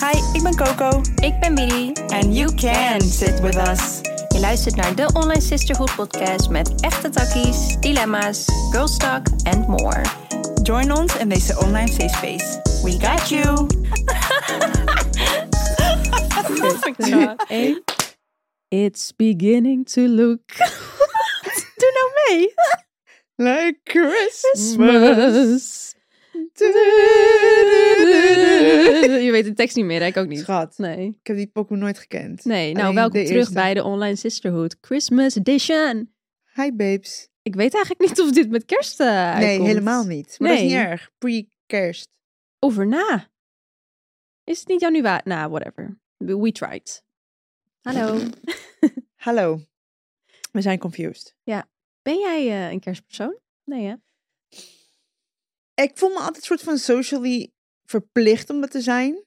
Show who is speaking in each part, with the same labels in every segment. Speaker 1: Hi, ik ben Coco.
Speaker 2: Ik ben Billy.
Speaker 1: And you can sit with us.
Speaker 2: Je luistert naar de Online Sisterhood podcast met echte takkies, dilemma's, girl talk and more.
Speaker 1: Join ons in deze online safe space. We got you.
Speaker 3: It's beginning to look. Doe nou mee.
Speaker 4: Like Christmas.
Speaker 3: Christmas. Je weet de tekst niet meer, hè? ik ook niet.
Speaker 4: Schat,
Speaker 3: Nee.
Speaker 4: ik heb die pokoe nooit gekend.
Speaker 3: Nee, nou
Speaker 4: Alleen
Speaker 3: welkom
Speaker 4: de
Speaker 3: terug
Speaker 4: eerste.
Speaker 3: bij de Online Sisterhood Christmas Edition.
Speaker 4: Hi babes.
Speaker 3: Ik weet eigenlijk niet of dit met kerst eh
Speaker 4: Nee,
Speaker 3: uitkomt.
Speaker 4: helemaal niet. Maar dat is
Speaker 3: Nee.
Speaker 4: niet erg. Pre-kerst.
Speaker 3: Over na. Is het niet januari? Nou, whatever. We, we tried. Hallo.
Speaker 4: Hallo. We zijn confused.
Speaker 3: Ben jij eh, een kerstpersoon? Nee, hè?
Speaker 4: Ik voel me altijd soort van socially verplicht om dat te zijn.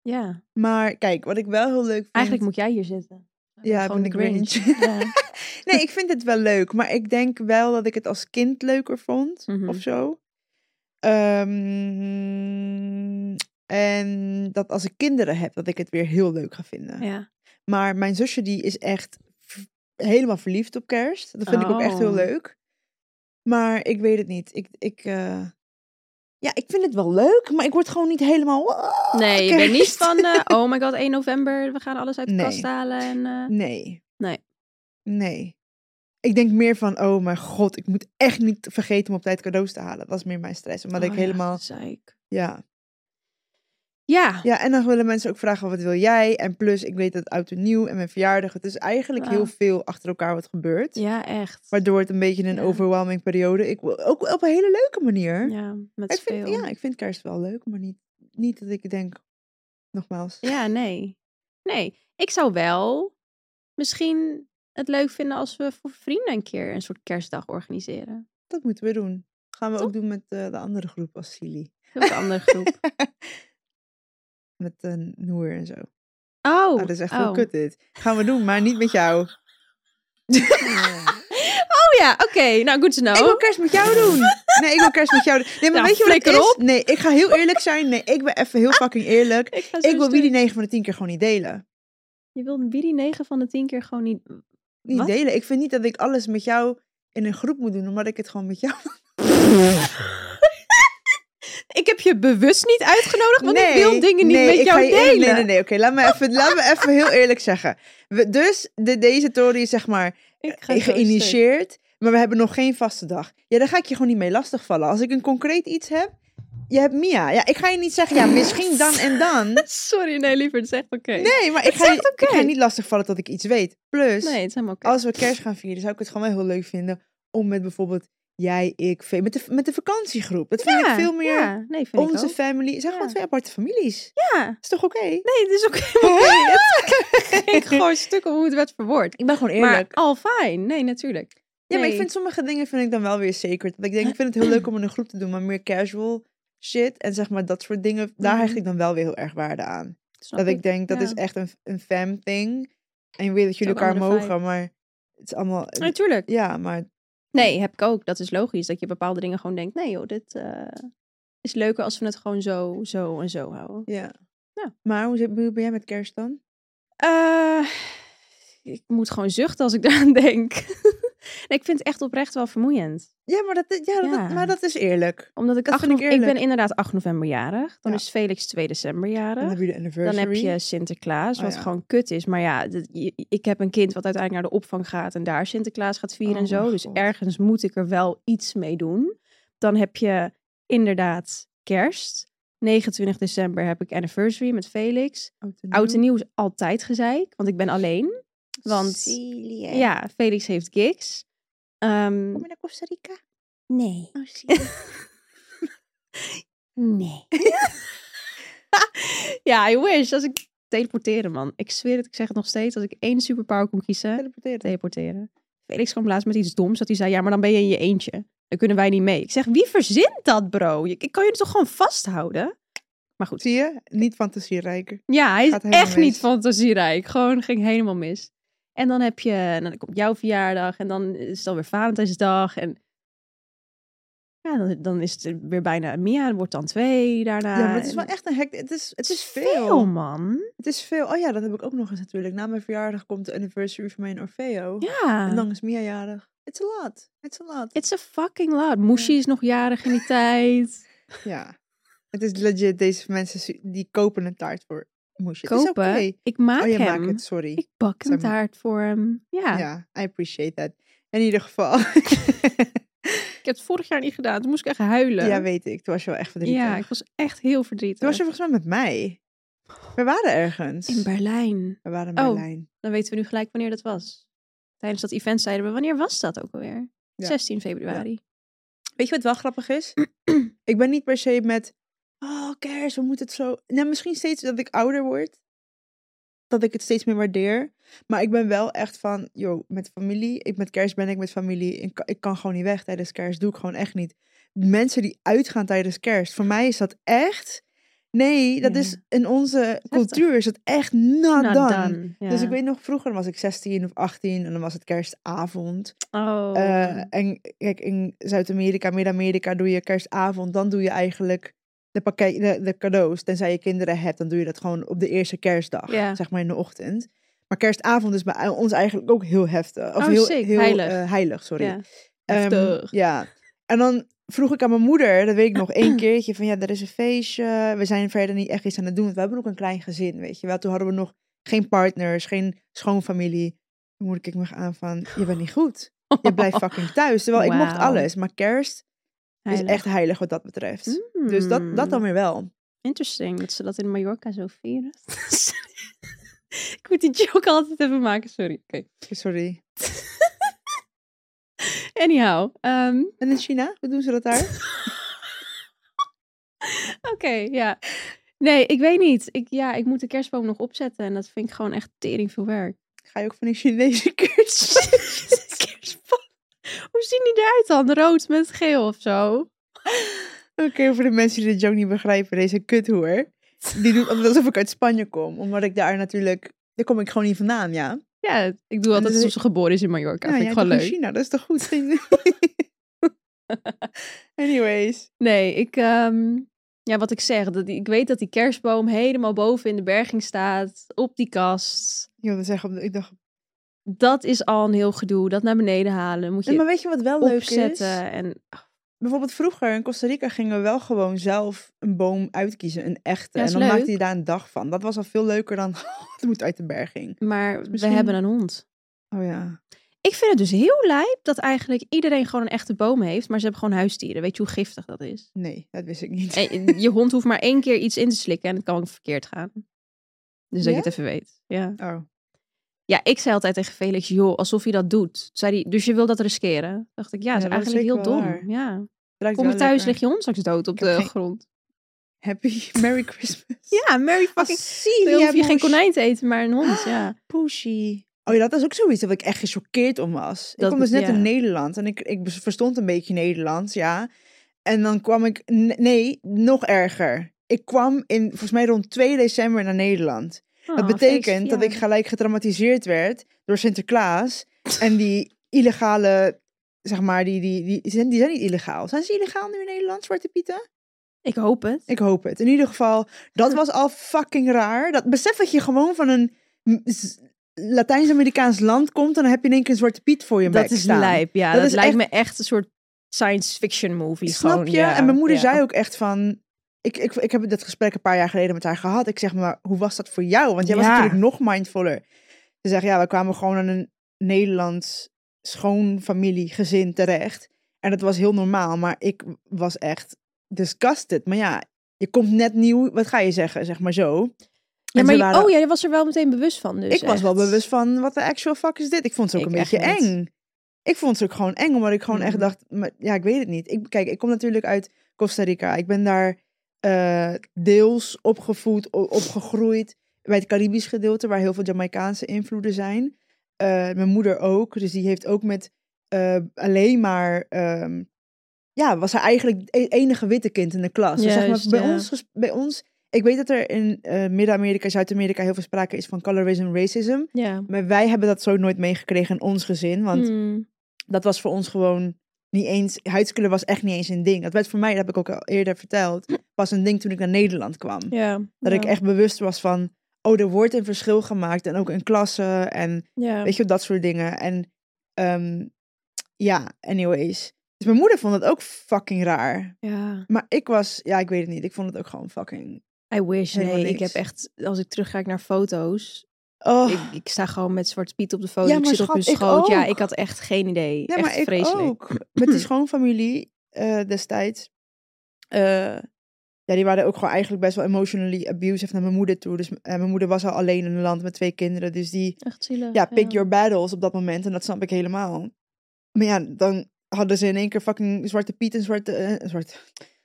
Speaker 3: Ja.
Speaker 4: Maar kijk, wat ik wel heel leuk vind...
Speaker 3: Eigenlijk moet jij hier zitten.
Speaker 4: Ja,
Speaker 3: Gewoon
Speaker 4: ben ik
Speaker 3: de
Speaker 4: Grinch.
Speaker 3: Ja.
Speaker 4: Nee, ik vind het wel leuk. Maar ik denk wel dat ik het als kind leuker vond.
Speaker 3: Mhm.
Speaker 4: Of zo. Ehm, en dat als ik kinderen heb, dat ik het weer heel leuk ga vinden.
Speaker 3: ja.
Speaker 4: Maar mijn zusje die is echt v- helemaal verliefd op kerst. Dat vind ik ook echt heel
Speaker 3: Oh.
Speaker 4: leuk. Maar ik weet het niet. Ik, ik, eh, Ja, ik vind het wel leuk, maar ik word gewoon niet helemaal... "Ah,
Speaker 3: Nee, je bent niet
Speaker 4: kerst."
Speaker 3: van, eh, oh my god, 1 november, we gaan alles uit de
Speaker 4: Nee.
Speaker 3: kast halen. En, eh,
Speaker 4: Nee.
Speaker 3: Nee.
Speaker 4: Nee. Ik denk meer van, oh mijn god, ik moet echt niet vergeten om op tijd cadeaus te halen. Dat is meer mijn stress, omdat
Speaker 3: oh
Speaker 4: ik
Speaker 3: ja,
Speaker 4: helemaal...
Speaker 3: gezeik.
Speaker 4: Ja.
Speaker 3: Ja,
Speaker 4: ja, en dan willen mensen ook vragen, wat wil jij? En plus, ik weet dat oud en nieuw en mijn verjaardag... Het is eigenlijk heel
Speaker 3: Wauw.
Speaker 4: veel achter elkaar wat gebeurt.
Speaker 3: ja, echt.
Speaker 4: Waardoor het een beetje een
Speaker 3: Ja.
Speaker 4: overwhelming periode. Ik wil ook op een hele leuke manier.
Speaker 3: ja, met
Speaker 4: ik,
Speaker 3: veel.
Speaker 4: vind, ja, ik vind kerst wel leuk, maar niet, niet dat ik denk, nogmaals.
Speaker 3: Ja, nee. Nee, ik zou wel misschien het leuk vinden als we voor vrienden een keer een soort kerstdag organiseren.
Speaker 4: Dat moeten we doen. Gaan we
Speaker 3: Toch?
Speaker 4: ook doen met eh, de andere groep als Silly.
Speaker 3: Met een andere groep.
Speaker 4: met een Noer en zo.
Speaker 3: Oh,
Speaker 4: Nou, dat is echt heel
Speaker 3: oh.
Speaker 4: kut dit. Gaan we doen, maar niet met jou.
Speaker 3: Oh ja, oké. Nou, goed to know.
Speaker 4: Ik wil kerst met jou doen. Nee, ik wil kerst met jou doen. Nee, maar
Speaker 3: Nou,
Speaker 4: weet je wat het
Speaker 3: flikker
Speaker 4: is? Nee, ik ga heel eerlijk zijn. Nee, ik ben even heel fucking eerlijk.
Speaker 3: Ik ga zo
Speaker 4: Ik wil
Speaker 3: stuk.
Speaker 4: wie die 9 van de 10 keer gewoon niet delen.
Speaker 3: Je wilt Bidi 9 van de 10 keer gewoon niet...
Speaker 4: niet
Speaker 3: Wat?
Speaker 4: delen. Ik vind niet dat ik alles met jou in een groep moet doen, omdat ik het gewoon met jou.
Speaker 3: Ik heb je bewust niet uitgenodigd, want ik wil dingen niet
Speaker 4: nee,
Speaker 3: met
Speaker 4: ik
Speaker 3: jou
Speaker 4: ga je-
Speaker 3: delen.
Speaker 4: Nee, nee, nee. Oké, laat me even, laat me even heel eerlijk zeggen. We, dus de, deze tory is zeg maar
Speaker 3: Ik ga zo stuk.
Speaker 4: geïnitieerd, maar we hebben nog geen vaste dag. Ja, daar ga ik je gewoon niet mee lastigvallen. Als ik een concreet iets heb, je hebt Mia. Ja, ik ga je niet zeggen, ja, misschien dan en dan.
Speaker 3: Sorry, nee, liever, het is echt oké.
Speaker 4: Nee, maar ik
Speaker 3: is
Speaker 4: ga, je,
Speaker 3: echt oké.
Speaker 4: ik ga je niet lastigvallen tot ik iets weet. Plus,
Speaker 3: Nee, het is helemaal oké.
Speaker 4: als we kerst gaan vieren, zou ik het gewoon wel heel leuk vinden om met bijvoorbeeld jij, ik, Vee, met de, met de vakantiegroep. Dat vind ik veel meer
Speaker 3: Ja, nee, vind
Speaker 4: onze
Speaker 3: ik ook.
Speaker 4: family. Het zijn gewoon
Speaker 3: Ja.
Speaker 4: twee aparte families.
Speaker 3: Ja,
Speaker 4: Is toch oké?
Speaker 3: nee, het is ook helemaal oké. Het- ik gooi stukken hoe het werd verwoord.
Speaker 4: Ik ben gewoon
Speaker 3: Maar
Speaker 4: eerlijk.
Speaker 3: al fijn. Nee, natuurlijk.
Speaker 4: ja, maar ik
Speaker 3: nee.
Speaker 4: vind sommige dingen vind ik dan wel weer sacred. Dat ik denk, ik vind het heel leuk om in een groep te doen, maar meer casual shit en zeg maar dat soort dingen, daar
Speaker 3: Mhm.
Speaker 4: hecht ik dan wel weer heel erg waarde aan.
Speaker 3: Snap
Speaker 4: dat ik denk, dat
Speaker 3: ja.
Speaker 4: is echt een, een fam thing. En je weet dat jullie
Speaker 3: ook
Speaker 4: elkaar
Speaker 3: andere
Speaker 4: mogen,
Speaker 3: vibe.
Speaker 4: maar het is allemaal...
Speaker 3: Natuurlijk.
Speaker 4: Ja, maar
Speaker 3: Nee, heb ik ook. Dat is logisch. Dat je bepaalde dingen gewoon denkt, nee joh, dit eh, is leuker als we het gewoon zo, zo en zo houden.
Speaker 4: ja.
Speaker 3: Ja.
Speaker 4: Maar hoe, zit, hoe ben jij met kerst dan?
Speaker 3: Eh, ik moet gewoon zuchten als ik daaraan denk. nee, ik vind het echt oprecht wel vermoeiend.
Speaker 4: Ja, maar dat, ja, dat-
Speaker 3: Ja.
Speaker 4: maar dat is eerlijk.
Speaker 3: Omdat ik,
Speaker 4: Dat
Speaker 3: 8
Speaker 4: vind ik
Speaker 3: nove- ik, ben
Speaker 4: eerlijk.
Speaker 3: inderdaad 8 november jarig. Dan
Speaker 4: Ja.
Speaker 3: is Felix 2 december
Speaker 4: Dan
Speaker 3: jarig.
Speaker 4: heb je de anniversary.
Speaker 3: Dan heb je Sinterklaas,
Speaker 4: Oh
Speaker 3: wat
Speaker 4: ja.
Speaker 3: gewoon kut is. Maar ja, dat- je- ik heb een kind wat uiteindelijk naar de opvang gaat en daar Sinterklaas gaat vieren
Speaker 4: Oh
Speaker 3: en zo.
Speaker 4: mijn
Speaker 3: Dus
Speaker 4: God.
Speaker 3: ergens moet ik er wel iets mee doen. Dan heb je inderdaad kerst. 29 december heb ik anniversary met Felix.
Speaker 4: Mhm.
Speaker 3: Oud en nieuw is altijd gezeik, want ik ben alleen. Want
Speaker 4: Ja.
Speaker 3: ja, Felix heeft gigs. Ehm,
Speaker 4: Kom je naar Costa Rica?
Speaker 2: Nee.
Speaker 4: Oh, zie je.
Speaker 2: Nee.
Speaker 3: ja, I wish. Als ik teleporteren, man. Ik zweer het, ik zeg het nog steeds. Als ik één superpower kon kiezen,
Speaker 4: Teleporteren.
Speaker 3: teleporteren. Felix kwam laatst met iets doms dat hij zei, ja, maar dan ben je in je eentje. Dan kunnen wij niet mee. Ik zeg, wie verzint dat, bro? Je- Ik kan jullie toch gewoon vasthouden? Maar goed.
Speaker 4: Zie je? Niet fantasierijker.
Speaker 3: Ja, hij is
Speaker 4: Gaat helemaal
Speaker 3: echt
Speaker 4: mis.
Speaker 3: niet fantasierijk. Gewoon ging helemaal mis. En dan heb je, en dan komt jouw verjaardag en dan is het alweer Valentijnsdag. En Ja, dan, dan is het weer bijna Mia, dan wordt dan twee daarna.
Speaker 4: Ja, maar het is
Speaker 3: En
Speaker 4: wel echt een hek. Het is, het
Speaker 3: het
Speaker 4: is
Speaker 3: veel,
Speaker 4: veel.
Speaker 3: man.
Speaker 4: Het is veel. Oh ja, dat heb ik ook nog eens natuurlijk. Na mijn verjaardag komt de anniversary van mijn Orfeo.
Speaker 3: Ja.
Speaker 4: En dan is Mia jarig. It's a lot. It's a lot.
Speaker 3: It's a fucking lot. Moeshi is nog jarig in die tijd.
Speaker 4: Ja. Het is legit. Deze mensen su- die kopen een taart voor moesje.
Speaker 3: Kopen.
Speaker 4: Het is oké.
Speaker 3: Ik maak
Speaker 4: Oh, je
Speaker 3: hem.
Speaker 4: maakt het. Sorry.
Speaker 3: Ik bak een
Speaker 4: Zeg maar.
Speaker 3: taart voor hem. Ja.
Speaker 4: ja. I appreciate that. In ieder geval.
Speaker 3: Ik heb het vorig jaar niet gedaan. Toen moest ik echt huilen.
Speaker 4: ja, weet ik. Toen was je wel echt verdrietig.
Speaker 3: Ja, ik was echt heel verdrietig.
Speaker 4: Toen was je volgens mij met mij. We waren ergens.
Speaker 3: In Berlijn.
Speaker 4: we waren in
Speaker 3: Oh.
Speaker 4: Berlijn.
Speaker 3: Dan weten we nu gelijk wanneer dat was. Tijdens dat event zeiden we, wanneer was dat ook alweer?
Speaker 4: Ja.
Speaker 3: 16 februari.
Speaker 4: Weet je wat wel grappig is? ik ben niet per se met. Oh, kerst, we moeten het zo. Nou, misschien steeds dat ik ouder word. Dat ik het steeds meer waardeer. Maar ik ben wel echt van. Yo, met familie. Ik, met kerst ben ik met familie. Ik, kan- ik kan gewoon niet weg tijdens kerst. Doe ik gewoon echt niet. Mensen die uitgaan tijdens kerst. Voor mij is dat echt. Nee, dat
Speaker 3: Ja.
Speaker 4: is in onze cultuur is dat echt
Speaker 3: Nou,
Speaker 4: not, done.
Speaker 3: dan. Ja.
Speaker 4: Ah, Dus ik weet nog, vroeger was ik 16 of 18 en dan was het kerstavond.
Speaker 3: Oh.
Speaker 4: Eh, en kijk, in Zuid-Amerika, Midden-Amerika doe je kerstavond. Dan doe je eigenlijk de, pakket, de, de cadeaus. Tenzij je kinderen hebt, dan doe je dat gewoon op de eerste kerstdag.
Speaker 3: Ja.
Speaker 4: Zeg maar in de ochtend. Maar kerstavond is bij ons eigenlijk ook heel heftig. Of
Speaker 3: Oh,
Speaker 4: heel,
Speaker 3: sick.
Speaker 4: heel
Speaker 3: Heilig.
Speaker 4: eh, heilig, sorry.
Speaker 3: Ja.
Speaker 4: Ehm,
Speaker 3: Heftig.
Speaker 4: ja. En dan vroeg ik aan mijn moeder, dat weet ik nog één keertje, van ja, er is een feestje. We zijn verder niet echt iets aan het doen. Want we hebben ook een klein gezin, weet je wel. Toen hadden we nog geen partners, geen schoonfamilie. Mijn moeder keek me aan van, je bent niet goed. Je blijft dus fucking thuis. Terwijl ik mocht
Speaker 3: Wauw.
Speaker 4: alles. Maar
Speaker 3: Heilig.
Speaker 4: kerst
Speaker 3: Hmm. Mm.
Speaker 4: is echt heilig wat dat betreft. Dus dat, dat dan weer wel.
Speaker 3: Interesting, dat ze dat in Mallorca zo vieren. Sorry. ik moet die joke altijd even maken, sorry. Oké.
Speaker 4: Sorry.
Speaker 3: Anyhow, ehm,
Speaker 4: En in China, hoe doen ze dat daar?
Speaker 3: oké, ja. Nee, ik weet niet. Ik, ja, ik moet de kerstboom nog opzetten en dat vind ik gewoon echt tering veel werk.
Speaker 4: Ga je ook van die Chinese kerst?
Speaker 3: kerstboom. Hoe zien die eruit dan? Rood met geel of zo?
Speaker 4: Oké, voor de mensen die de joke niet begrijpen, deze kuthoer. Die doet alsof ik uit Spanje kom. Omdat ik daar natuurlijk... Daar kom ik gewoon niet vandaan, ja.
Speaker 3: Ja, ik doe altijd
Speaker 4: Dus-
Speaker 3: alsof ze geboren is in Mallorca. vind
Speaker 4: Nou, jij
Speaker 3: ik gewoon
Speaker 4: toch in
Speaker 3: leuk.
Speaker 4: China, dat is toch goed? Anyways.
Speaker 3: Nee, ik, ehm, ja, wat ik zeg, dat die- ik weet dat die kerstboom helemaal boven in de berging staat, op die kast.
Speaker 4: Yo, dat zeggen, ik dacht...
Speaker 3: Dat is al een heel gedoe. Dat naar beneden halen, moet je
Speaker 4: Nee, maar weet je wat wel leuk is?
Speaker 3: opzetten. En,
Speaker 4: Bijvoorbeeld vroeger in Costa Rica gingen we wel gewoon zelf een boom uitkiezen, een
Speaker 3: Ja,
Speaker 4: echte. en
Speaker 3: is
Speaker 4: dan
Speaker 3: leuk.
Speaker 4: maakte je daar een dag van. Dat was al veel leuker dan, het moet uit de berging.
Speaker 3: maar
Speaker 4: misschien-
Speaker 3: we hebben een hond.
Speaker 4: Oh ja.
Speaker 3: Ik vind het dus heel lijp dat eigenlijk iedereen gewoon een echte boom heeft, maar ze hebben gewoon huisdieren. Weet je hoe giftig dat is?
Speaker 4: Nee, dat wist ik niet.
Speaker 3: En eh, je hond hoeft maar één keer iets in te slikken en het kan ook verkeerd gaan. Dus dat
Speaker 4: Ja?
Speaker 3: je het even weet. Ja.
Speaker 4: Oh.
Speaker 3: Ja, ik zei altijd tegen Felix, joh, alsof je dat doet. Toen Zei hij, dus je wil dat riskeren? Dacht ik, ja,
Speaker 4: Ja,
Speaker 3: is
Speaker 4: dat is
Speaker 3: eigenlijk heel
Speaker 4: zeker wel
Speaker 3: dom.
Speaker 4: waar.
Speaker 3: Ja.
Speaker 4: Ruikt
Speaker 3: Kom je
Speaker 4: wel
Speaker 3: thuis,
Speaker 4: lekker.
Speaker 3: leg je hond straks dood op
Speaker 4: Ik heb
Speaker 3: de
Speaker 4: geen-
Speaker 3: grond.
Speaker 4: Happy Merry Christmas.
Speaker 3: Ja, Mary
Speaker 4: Fucking
Speaker 3: Dan
Speaker 4: Celia
Speaker 3: hoef je geen
Speaker 4: Bush.
Speaker 3: konijn te eten, maar een hond, ja.
Speaker 4: Pushy. Oh ja, dat is ook zoiets dat ik echt gechoqueerd om was.
Speaker 3: Dat-
Speaker 4: ik kom dus net
Speaker 3: ja.
Speaker 4: in Nederland en ik, ik verstond een beetje Nederlands, ja. En dan kwam ik, n- nee, nog erger. Ik kwam in, volgens mij rond 2 december naar Nederland.
Speaker 3: Ah,
Speaker 4: dat betekent
Speaker 3: feest,
Speaker 4: dat
Speaker 3: ja.
Speaker 4: ik gelijk getraumatiseerd werd door Sinterklaas en die illegale, zeg maar, die, die, die, die, zijn, die zijn niet illegaal. Zijn ze illegaal nu in Nederland, Zwarte Pieten?
Speaker 3: Ik hoop het.
Speaker 4: Ik hoop het. In ieder geval, dat was al fucking raar. Dat besef dat je gewoon van een m- z- Latijns-Amerikaans land komt, en dan heb je in één keer een zwarte piet voor je
Speaker 3: dat
Speaker 4: bek
Speaker 3: is
Speaker 4: staan.
Speaker 3: lijp, ja. Dat,
Speaker 4: Dat is
Speaker 3: lijkt
Speaker 4: echt-
Speaker 3: me echt een soort science fiction movie.
Speaker 4: Snap
Speaker 3: gewoon,
Speaker 4: je?
Speaker 3: ja,
Speaker 4: en mijn moeder
Speaker 3: ja.
Speaker 4: zei ook echt van... Ik, ik, ik heb dat gesprek een paar jaar geleden met haar gehad. Ik zeg maar, hoe was dat voor jou? Want jij was
Speaker 3: Ja.
Speaker 4: natuurlijk nog mindfuller. Ze zegt, ja, we kwamen gewoon aan een Nederlands schoonfamilie, gezin terecht. En dat was heel normaal, maar ik was echt disgusted. Maar ja, je komt net nieuw, wat ga je zeggen, zeg maar zo.
Speaker 3: Ja, maar
Speaker 4: En ze
Speaker 3: je-
Speaker 4: waren-
Speaker 3: oh, jij was er wel meteen bewust van, dus
Speaker 4: ik was wel
Speaker 3: echt.
Speaker 4: bewust van, wat de actual fuck is dit? Ik vond ze ook
Speaker 3: Ik
Speaker 4: een beetje
Speaker 3: echt niet.
Speaker 4: eng. Ik vond ze ook gewoon eng, omdat ik gewoon echt
Speaker 3: Mhm.
Speaker 4: dacht, maar, ja, ik weet het niet. Ik, kijk, ik kom natuurlijk uit Costa Rica. Ik ben daar eh, deels opgevoed, o- opgegroeid bij het Caribisch gedeelte, waar heel veel Jamaicaanse invloeden zijn. Eh, mijn moeder ook, dus die heeft ook met eh, alleen maar... ehm, ja, was ze eigenlijk het enige witte kind in de klas. Dus zeg maar,
Speaker 3: Juist,
Speaker 4: bij,
Speaker 3: ja.
Speaker 4: ons, ges- bij ons... Ik weet dat er in eh, Midden-Amerika, Zuid-Amerika heel veel sprake is van colorism, racism.
Speaker 3: Ja.
Speaker 4: Maar wij hebben dat zo nooit meegekregen in ons gezin. Want
Speaker 3: Hmm.
Speaker 4: dat was voor ons gewoon niet eens, huidskleur was echt niet eens een ding. Dat werd voor mij, dat heb ik ook al eerder verteld, pas een ding toen ik naar Nederland kwam.
Speaker 3: Ja.
Speaker 4: Dat ik echt bewust was van, oh, er wordt een verschil gemaakt. En ook in klassen en
Speaker 3: Ja.
Speaker 4: weet je, dat soort dingen. En ehm, ja, anyways. Dus mijn moeder vond het ook fucking raar.
Speaker 3: ja.
Speaker 4: Maar ik was, ja, ik weet het niet. Ik vond het ook gewoon fucking...
Speaker 3: I wish.
Speaker 4: Helemaal
Speaker 3: Nee, ik
Speaker 4: niks.
Speaker 3: heb echt, als ik terugkijk naar foto's,
Speaker 4: Oh.
Speaker 3: ik, ik sta gewoon met Zwarte Piet op de foto.
Speaker 4: Ja,
Speaker 3: ik
Speaker 4: maar
Speaker 3: zit op hun
Speaker 4: schat, ik
Speaker 3: schoot. Ja,
Speaker 4: ook.
Speaker 3: ik had echt geen idee.
Speaker 4: Ja,
Speaker 3: echt
Speaker 4: maar ik
Speaker 3: vreselijk.
Speaker 4: ook. Met die schoonfamilie eh, destijds. eh, ja, die waren ook gewoon eigenlijk best wel emotionally abusive naar mijn moeder toe. Dus eh, mijn moeder was al alleen in een land met twee kinderen. Dus die,
Speaker 3: Echt zielig.
Speaker 4: ja, pick your battles op dat moment. En dat snap ik helemaal. Maar ja, dan hadden ze in één keer fucking Zwarte Piet en Zwarte... eh, zwarte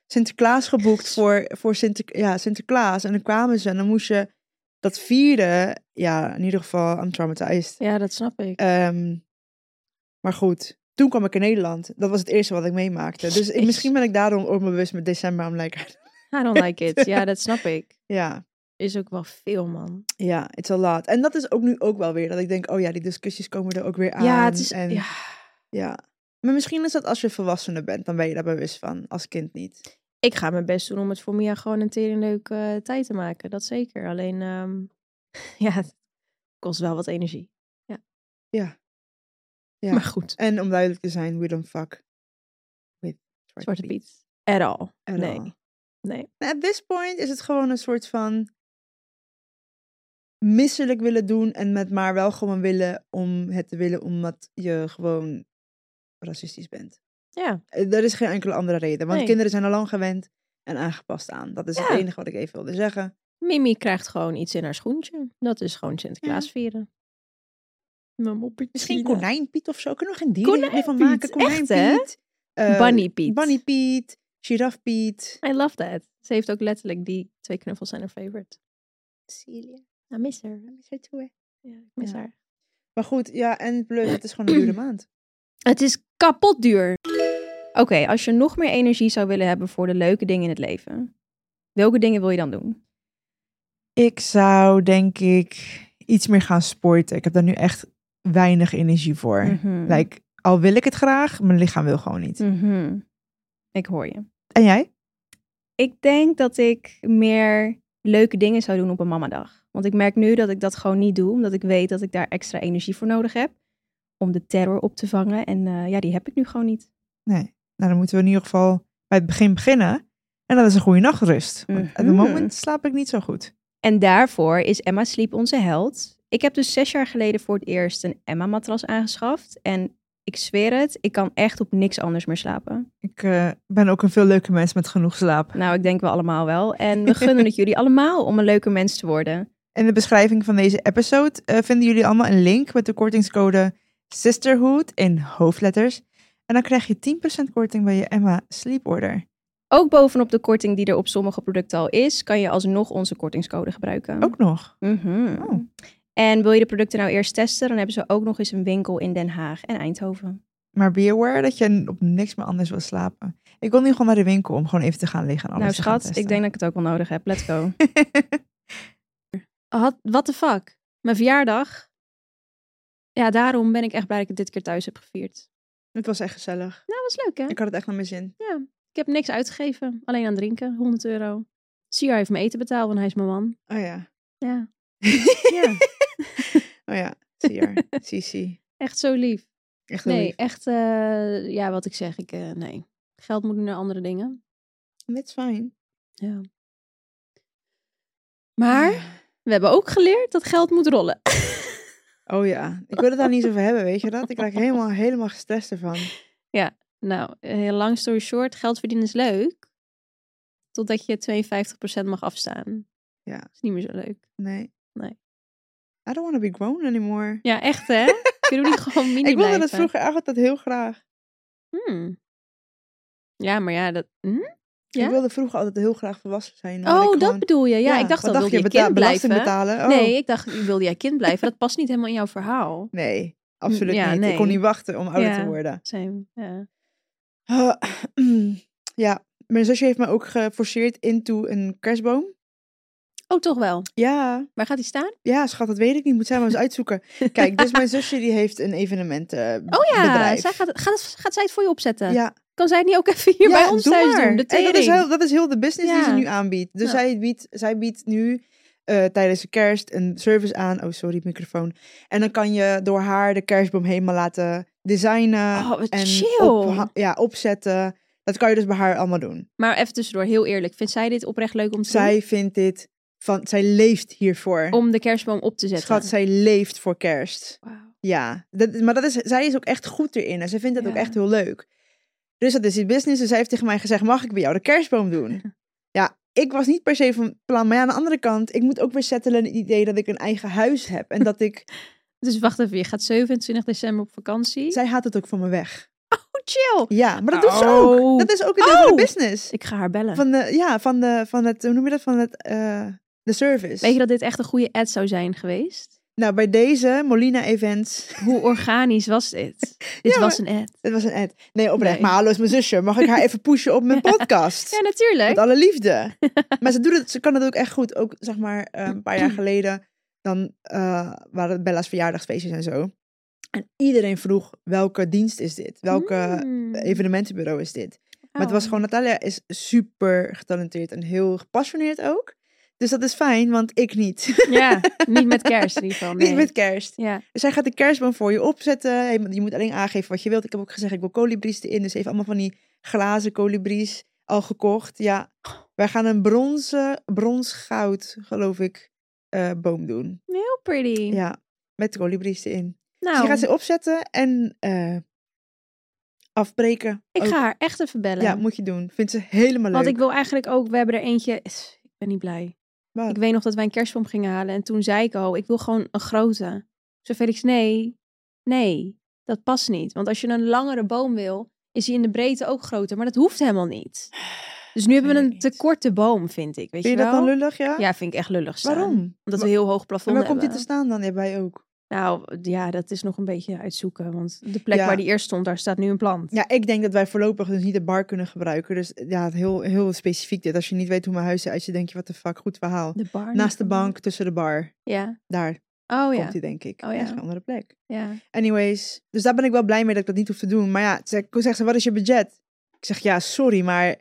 Speaker 4: Sinterklaas geboekt voor, voor Sinter, ja, Sinterklaas. En dan kwamen ze en dan moest je dat vieren. Ja, in ieder geval, I'm traumatized.
Speaker 3: Ja, dat snap ik.
Speaker 4: Ehm, maar goed, toen kwam ik in Nederland. Dat was het eerste wat ik meemaakte. Dus ik,
Speaker 3: Jezus.
Speaker 4: misschien ben ik daarom ook me bewust met december. I'm like,
Speaker 3: I don't like it. Ja, dat snap ik.
Speaker 4: ja,
Speaker 3: Is ook wel veel, man.
Speaker 4: ja, it's a lot. En dat is ook nu ook wel weer dat ik denk, oh ja, die discussies komen er ook weer aan.
Speaker 3: ja, het is...
Speaker 4: En,
Speaker 3: ja.
Speaker 4: ja. Maar misschien is dat als je volwassene bent, dan ben je daar bewust van. Als kind niet.
Speaker 3: Ik ga mijn best doen om het voor Mia gewoon een teringleuke leuke tijd te maken. Dat zeker. Alleen, ehm, ja, het kost wel wat energie. Ja.
Speaker 4: Ja. Ja.
Speaker 3: Maar goed,
Speaker 4: En om duidelijk te zijn, we don't fuck with Zwarte,
Speaker 3: Zwarte Piet. At all.
Speaker 4: at
Speaker 3: nee.
Speaker 4: all.
Speaker 3: Nee.
Speaker 4: Nou, at this point is het gewoon een soort van misselijk willen doen en met maar wel gewoon willen om het te willen omdat je gewoon racistisch bent.
Speaker 3: Ja.
Speaker 4: Eh, Er is geen enkele andere reden, want
Speaker 3: Nee.
Speaker 4: kinderen zijn al lang gewend en aangepast aan. Dat is
Speaker 3: Ja.
Speaker 4: het enige wat ik even wilde zeggen.
Speaker 3: Mimi krijgt gewoon iets in haar schoentje. Dat is gewoon Sinterklaas vieren. Mijn moppetje.
Speaker 4: Misschien
Speaker 3: Tina.
Speaker 4: konijnpiet of zo. Kunnen we geen dieren meer van maken?
Speaker 3: Konijnpiet, echt, hè?
Speaker 4: Konijnpiet. eh,
Speaker 3: Bunny Piet.
Speaker 4: Bunny Piet. Giraffe Piet.
Speaker 3: I love that. Ze heeft ook letterlijk die twee knuffels zijn haar favorite.
Speaker 4: Celia.
Speaker 3: I miss her.
Speaker 4: toe, hè?
Speaker 3: Ja, ik mis
Speaker 4: Ja.
Speaker 3: haar.
Speaker 4: Maar goed, ja, en plus, het is gewoon een dure maand.
Speaker 3: Het is kapot duur. Oké, als je nog meer energie zou willen hebben voor de leuke dingen in het leven, welke dingen wil je dan doen?
Speaker 4: Ik zou denk ik iets meer gaan sporten. Ik heb daar nu echt weinig energie voor.
Speaker 3: Mhm.
Speaker 4: Like, al wil ik het graag, mijn lichaam wil gewoon niet.
Speaker 3: Mhm. Ik hoor je.
Speaker 4: En jij?
Speaker 3: Ik denk dat ik meer leuke dingen zou doen op een mamadag. Want ik merk nu dat ik dat gewoon niet doe, omdat ik weet dat ik daar extra energie voor nodig heb om de terror op te vangen. En eh, ja, die heb ik nu gewoon niet.
Speaker 4: Nee. Nou, dan moeten we in ieder geval bij het begin beginnen. En dat is een goede nachtrust. Want At the
Speaker 3: Mhm.
Speaker 4: moment slaap ik niet zo goed.
Speaker 3: En daarvoor is Emma Sleep onze held. Ik heb dus zes jaar geleden voor het eerst een Emma-matras aangeschaft. En ik zweer het, ik kan echt op niks anders meer slapen.
Speaker 4: Ik eh, ben ook een veel leuke mens met genoeg slaap.
Speaker 3: Nou, ik denk wel allemaal wel. En we gunnen het jullie allemaal om een leuke mens te worden.
Speaker 4: In de beschrijving van deze episode eh, vinden jullie allemaal een link met de kortingscode Sisterhood in hoofdletters. En dan krijg je 10% korting bij je Emma Sleeporder.
Speaker 3: Ook bovenop de korting die er op sommige producten al is, kan je alsnog onze kortingscode gebruiken.
Speaker 4: Ook nog.
Speaker 3: Mhm.
Speaker 4: Oh.
Speaker 3: En wil je de producten nou eerst testen, dan hebben ze ook nog eens een winkel in Den Haag en
Speaker 4: Oh,
Speaker 3: Eindhoven.
Speaker 4: Maar be aware dat je op niks meer anders wil slapen. Ik wil nu gewoon naar de winkel om gewoon even te gaan liggen en alles
Speaker 3: nou
Speaker 4: te gaan
Speaker 3: schat, ik denk dat ik het ook wel nodig heb. Let's go.
Speaker 4: testen.
Speaker 3: Had, what the fuck? Mijn verjaardag. Ja, daarom ben ik echt blij dat ik het dit keer thuis heb gevierd.
Speaker 4: het was echt gezellig.
Speaker 3: Nou, was leuk hè?
Speaker 4: Ik had het echt naar mijn zin.
Speaker 3: Ik heb niks uitgegeven. Alleen aan drinken. 100 euro. Sia heeft mijn eten betaald, want hij is mijn man.
Speaker 4: Oh ja.
Speaker 3: Ja.
Speaker 4: ja. oh ja. Zie haar. Sisi.
Speaker 3: Echt zo lief.
Speaker 4: Echt heel
Speaker 3: Nee,
Speaker 4: lief.
Speaker 3: echt. eh, ja, wat ik zeg. Ik, eh, nee. Geld moet nu naar andere dingen.
Speaker 4: That's fine.
Speaker 3: Ja. Maar we hebben ook geleerd dat geld moet rollen.
Speaker 4: Oh ja. Ik wil het daar niet zo over hebben, weet je dat? Ik raak helemaal, helemaal gestrest ervan.
Speaker 3: Nou, heel lang story short, geld verdienen is leuk. Totdat je 52% mag afstaan.
Speaker 4: Ja.
Speaker 3: Is niet meer zo leuk.
Speaker 4: Nee.
Speaker 3: Nee.
Speaker 4: I don't want to be grown anymore.
Speaker 3: Ja, echt hè? Kunnen we niet gewoon mini
Speaker 4: ik wilde dat
Speaker 3: blijven?
Speaker 4: vroeger echt altijd heel graag.
Speaker 3: Hmm. Ja, maar ja, dat... hm? Ja?
Speaker 4: Ik wilde vroeger altijd heel graag volwassen zijn. omdat
Speaker 3: Oh,
Speaker 4: ik
Speaker 3: dat
Speaker 4: gewoon-
Speaker 3: bedoel je. Ja,
Speaker 4: Ja,
Speaker 3: ik dacht
Speaker 4: wat
Speaker 3: al, wilde je,
Speaker 4: beta-
Speaker 3: kind
Speaker 4: belasting
Speaker 3: blijven?
Speaker 4: betalen? Oh.
Speaker 3: Nee, ik dacht, je wilde jij kind blijven. Dat past niet helemaal in jouw verhaal.
Speaker 4: Nee, absoluut
Speaker 3: ja,
Speaker 4: niet.
Speaker 3: nee.
Speaker 4: Ik kon niet wachten om ouder
Speaker 3: Ja.
Speaker 4: te worden.
Speaker 3: Zijn, ja.
Speaker 4: ja, mijn zusje heeft me ook geforceerd into een kerstboom.
Speaker 3: Oh, toch wel.
Speaker 4: Ja,
Speaker 3: Waar gaat die staan?
Speaker 4: ja, schat, dat weet ik niet. Moet zij maar eens uitzoeken. Kijk, dus mijn zusje die heeft een evenementenbedrijf.
Speaker 3: Oh ja, zij gaat, het- gaat, gaat zij het voor je opzetten?
Speaker 4: Ja,
Speaker 3: Kan zij het niet ook even hier
Speaker 4: Ja,
Speaker 3: bij ons
Speaker 4: doe
Speaker 3: thuis
Speaker 4: maar.
Speaker 3: doen? De
Speaker 4: En
Speaker 3: tering.
Speaker 4: dat, is heel, dat is heel de business die ze
Speaker 3: Ja.
Speaker 4: nu aanbiedt. Dus
Speaker 3: Ja.
Speaker 4: zij, biedt, zij biedt nu eh, tijdens de kerst een service aan. Oh, sorry, microfoon. En dan kan je door haar de kerstboom helemaal laten designen.
Speaker 3: Oh, wat
Speaker 4: en
Speaker 3: chill.
Speaker 4: opha- ja, opzetten. Dat kan je dus bij haar allemaal doen.
Speaker 3: Maar even tussendoor, heel eerlijk. Vindt zij dit oprecht leuk om te doen?
Speaker 4: Zij vindt dit van, zij leeft hiervoor.
Speaker 3: Om de kerstboom op te zetten.
Speaker 4: Schat, zij leeft voor kerst.
Speaker 3: Wauw.
Speaker 4: Ja, dat, maar dat is, zij is ook echt goed erin en zij vindt dat ook
Speaker 3: Ja.
Speaker 4: echt heel leuk. Dus dat is die business. Dus zij heeft tegen mij gezegd: Mag ik bij jou de kerstboom doen? ja, ik was niet per se van plan. Maar ja, aan de andere kant, ik moet ook weer settelen in het idee dat ik een eigen huis heb. En dat ik.
Speaker 3: Dus wacht even, je gaat 27 december op vakantie.
Speaker 4: zij haat het ook van me weg.
Speaker 3: Oh, chill.
Speaker 4: Ja, maar dat doet ze
Speaker 3: Oh.
Speaker 4: ook. Dat is ook een deel van
Speaker 3: Oh.
Speaker 4: de business.
Speaker 3: Ik ga haar bellen.
Speaker 4: Van de, ja, van de, van het, hoe noem je dat? Van het, eh, de service.
Speaker 3: Weet je dat dit echt een goede ad zou zijn geweest?
Speaker 4: Nou, bij deze Molina Events.
Speaker 3: Hoe organisch was dit? dit
Speaker 4: Ja,
Speaker 3: was een ad.
Speaker 4: Het was een ad. Nee, oprecht.
Speaker 3: Nee.
Speaker 4: Maar hallo, is mijn zusje. Mag ik haar even pushen op mijn podcast?
Speaker 3: Ja, natuurlijk.
Speaker 4: Met alle liefde. maar ze, doet het, ze kan het ook echt goed. Ook zeg maar eh, een paar jaar geleden. Dan eh, waren het Bella's verjaardagsfeestjes en zo. En iedereen vroeg welke dienst is eh, dit? Welke
Speaker 3: Mm.
Speaker 4: evenementenbureau is dit? Maar het was
Speaker 3: Oh.
Speaker 4: gewoon, Natalia is super getalenteerd en heel gepassioneerd ook. Dus dat is fijn, want ik niet.
Speaker 3: Ja, niet met kerst in ieder geval. Nee.
Speaker 4: niet met kerst.
Speaker 3: Ja,
Speaker 4: Dus zij gaat de kerstboom voor je opzetten. Hey, Je moet alleen aangeven wat je wilt. Ik heb ook gezegd, ik wil kolibries erin. Dus ze heeft allemaal van die glazen kolibries al gekocht. Ja, wij gaan een bronzen, bronsgoud, geloof ik, eh, boom doen.
Speaker 3: heel pretty.
Speaker 4: Ja, met kolibries erin. Dus
Speaker 3: Nou,
Speaker 4: die gaat ze opzetten en eh, afbreken.
Speaker 3: ik
Speaker 4: Ook.
Speaker 3: ga haar echt even bellen.
Speaker 4: Ja, moet je doen. Vindt ze helemaal leuk.
Speaker 3: Want ik wil eigenlijk ook, we hebben er eentje, ik ben niet blij.
Speaker 4: Wat?
Speaker 3: Ik weet nog dat wij een kerstboom gingen halen en toen zei ik al, ik wil gewoon een grote. Zo Felix, nee, nee, dat past niet. Want als je een langere boom wil, is die in de breedte ook groter. Maar dat hoeft helemaal niet. Dus nu hebben we
Speaker 4: Weet ik
Speaker 3: een
Speaker 4: niet.
Speaker 3: te korte boom, vind ik. Weet
Speaker 4: Vind je dat
Speaker 3: wel?
Speaker 4: dan lullig, ja?
Speaker 3: Ja, vind ik echt lullig staan.
Speaker 4: Waarom?
Speaker 3: Omdat
Speaker 4: Wa-
Speaker 3: we heel hoog
Speaker 4: En
Speaker 3: plafond
Speaker 4: waar
Speaker 3: hebben.
Speaker 4: komt dit te staan dan? Ja, bij ook.
Speaker 3: Nou, ja, dat is nog een beetje uitzoeken. Want de plek
Speaker 4: Ja.
Speaker 3: waar die eerst stond, daar staat nu een plant.
Speaker 4: Ja, ik denk dat wij voorlopig dus niet de bar kunnen gebruiken. Dus ja, heel, heel specifiek dit. Als je niet weet hoe mijn huis eruit ziet, denk je, wat de fuck, goed verhaal.
Speaker 3: De bar.
Speaker 4: Naast de
Speaker 3: niet.
Speaker 4: bank, tussen de bar.
Speaker 3: Ja.
Speaker 4: Daar
Speaker 3: Oh ja.
Speaker 4: komt hij, denk ik.
Speaker 3: Oh,
Speaker 4: ja.
Speaker 3: ja.
Speaker 4: is geen andere plek.
Speaker 3: ja.
Speaker 4: Anyways, dus daar ben ik wel blij mee dat ik dat niet hoef te doen. Maar ja, ze zegt ze, wat is je budget? Ik zeg, ja, sorry, maar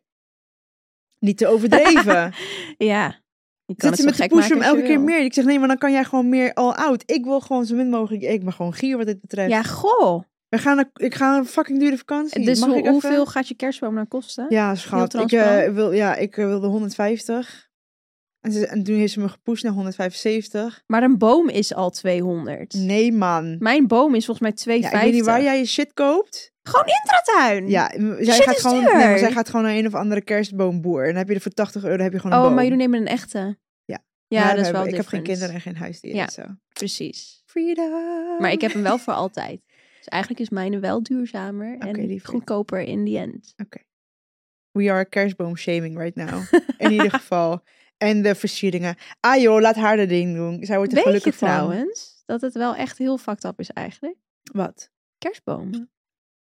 Speaker 4: niet te overdreven.
Speaker 3: Ja. Je kan het
Speaker 4: Zit ze
Speaker 3: zo
Speaker 4: met de
Speaker 3: gek
Speaker 4: push om
Speaker 3: maken als je
Speaker 4: elke keer
Speaker 3: wil.
Speaker 4: meer? Ik zeg, nee, maar dan kan jij gewoon meer all out. Ik wil gewoon zo min mogelijk. Ik ben gewoon gier wat dit betreft.
Speaker 3: Ja, goh.
Speaker 4: We gaan naar- ik ga een fucking dure vakantie.
Speaker 3: Dus
Speaker 4: Mag
Speaker 3: hoe-
Speaker 4: ik even?
Speaker 3: hoeveel gaat je kerstboom dan kosten?
Speaker 4: Ja, schat. Ik, eh,
Speaker 3: transparant.
Speaker 4: wil, ja, ik eh, wilde 150. En, ze- en toen heeft ze me gepusht naar 175.
Speaker 3: Maar een boom is al 200.
Speaker 4: Nee, man.
Speaker 3: Mijn boom is volgens mij
Speaker 4: Ja,
Speaker 3: 250.
Speaker 4: ik weet niet waar jij je shit koopt.
Speaker 3: Gewoon intratuin.
Speaker 4: Ja, m- zij
Speaker 3: Mm. Shit
Speaker 4: gaat,
Speaker 3: is
Speaker 4: gewoon,
Speaker 3: duur.
Speaker 4: nee, maar zij gaat gewoon naar een of andere kerstboomboer. En dan heb je er voor 80 euro heb je gewoon een
Speaker 3: Oh,
Speaker 4: boom.
Speaker 3: maar jullie nemen een echte.
Speaker 4: Ja.
Speaker 3: Ja,
Speaker 4: Maar
Speaker 3: dat is
Speaker 4: we
Speaker 3: wel
Speaker 4: hebben- Ik heb geen
Speaker 3: different.
Speaker 4: kinderen en geen huisdieren.
Speaker 3: Ja.
Speaker 4: en Zo.
Speaker 3: Precies.
Speaker 4: Freedom.
Speaker 3: Maar ik heb hem wel voor altijd. Dus eigenlijk is mijne wel duurzamer en
Speaker 4: Oké, lieverd.
Speaker 3: goedkoper in the end.
Speaker 4: We are kerstboom shaming right now. In ieder geval. En de versieringen. Ah joh, laat haar dat ding doen. Zij wordt er
Speaker 3: Weet je
Speaker 4: gelukkig van.
Speaker 3: trouwens dat het wel echt heel fucked up is eigenlijk?
Speaker 4: Wat?
Speaker 3: Kerstbomen.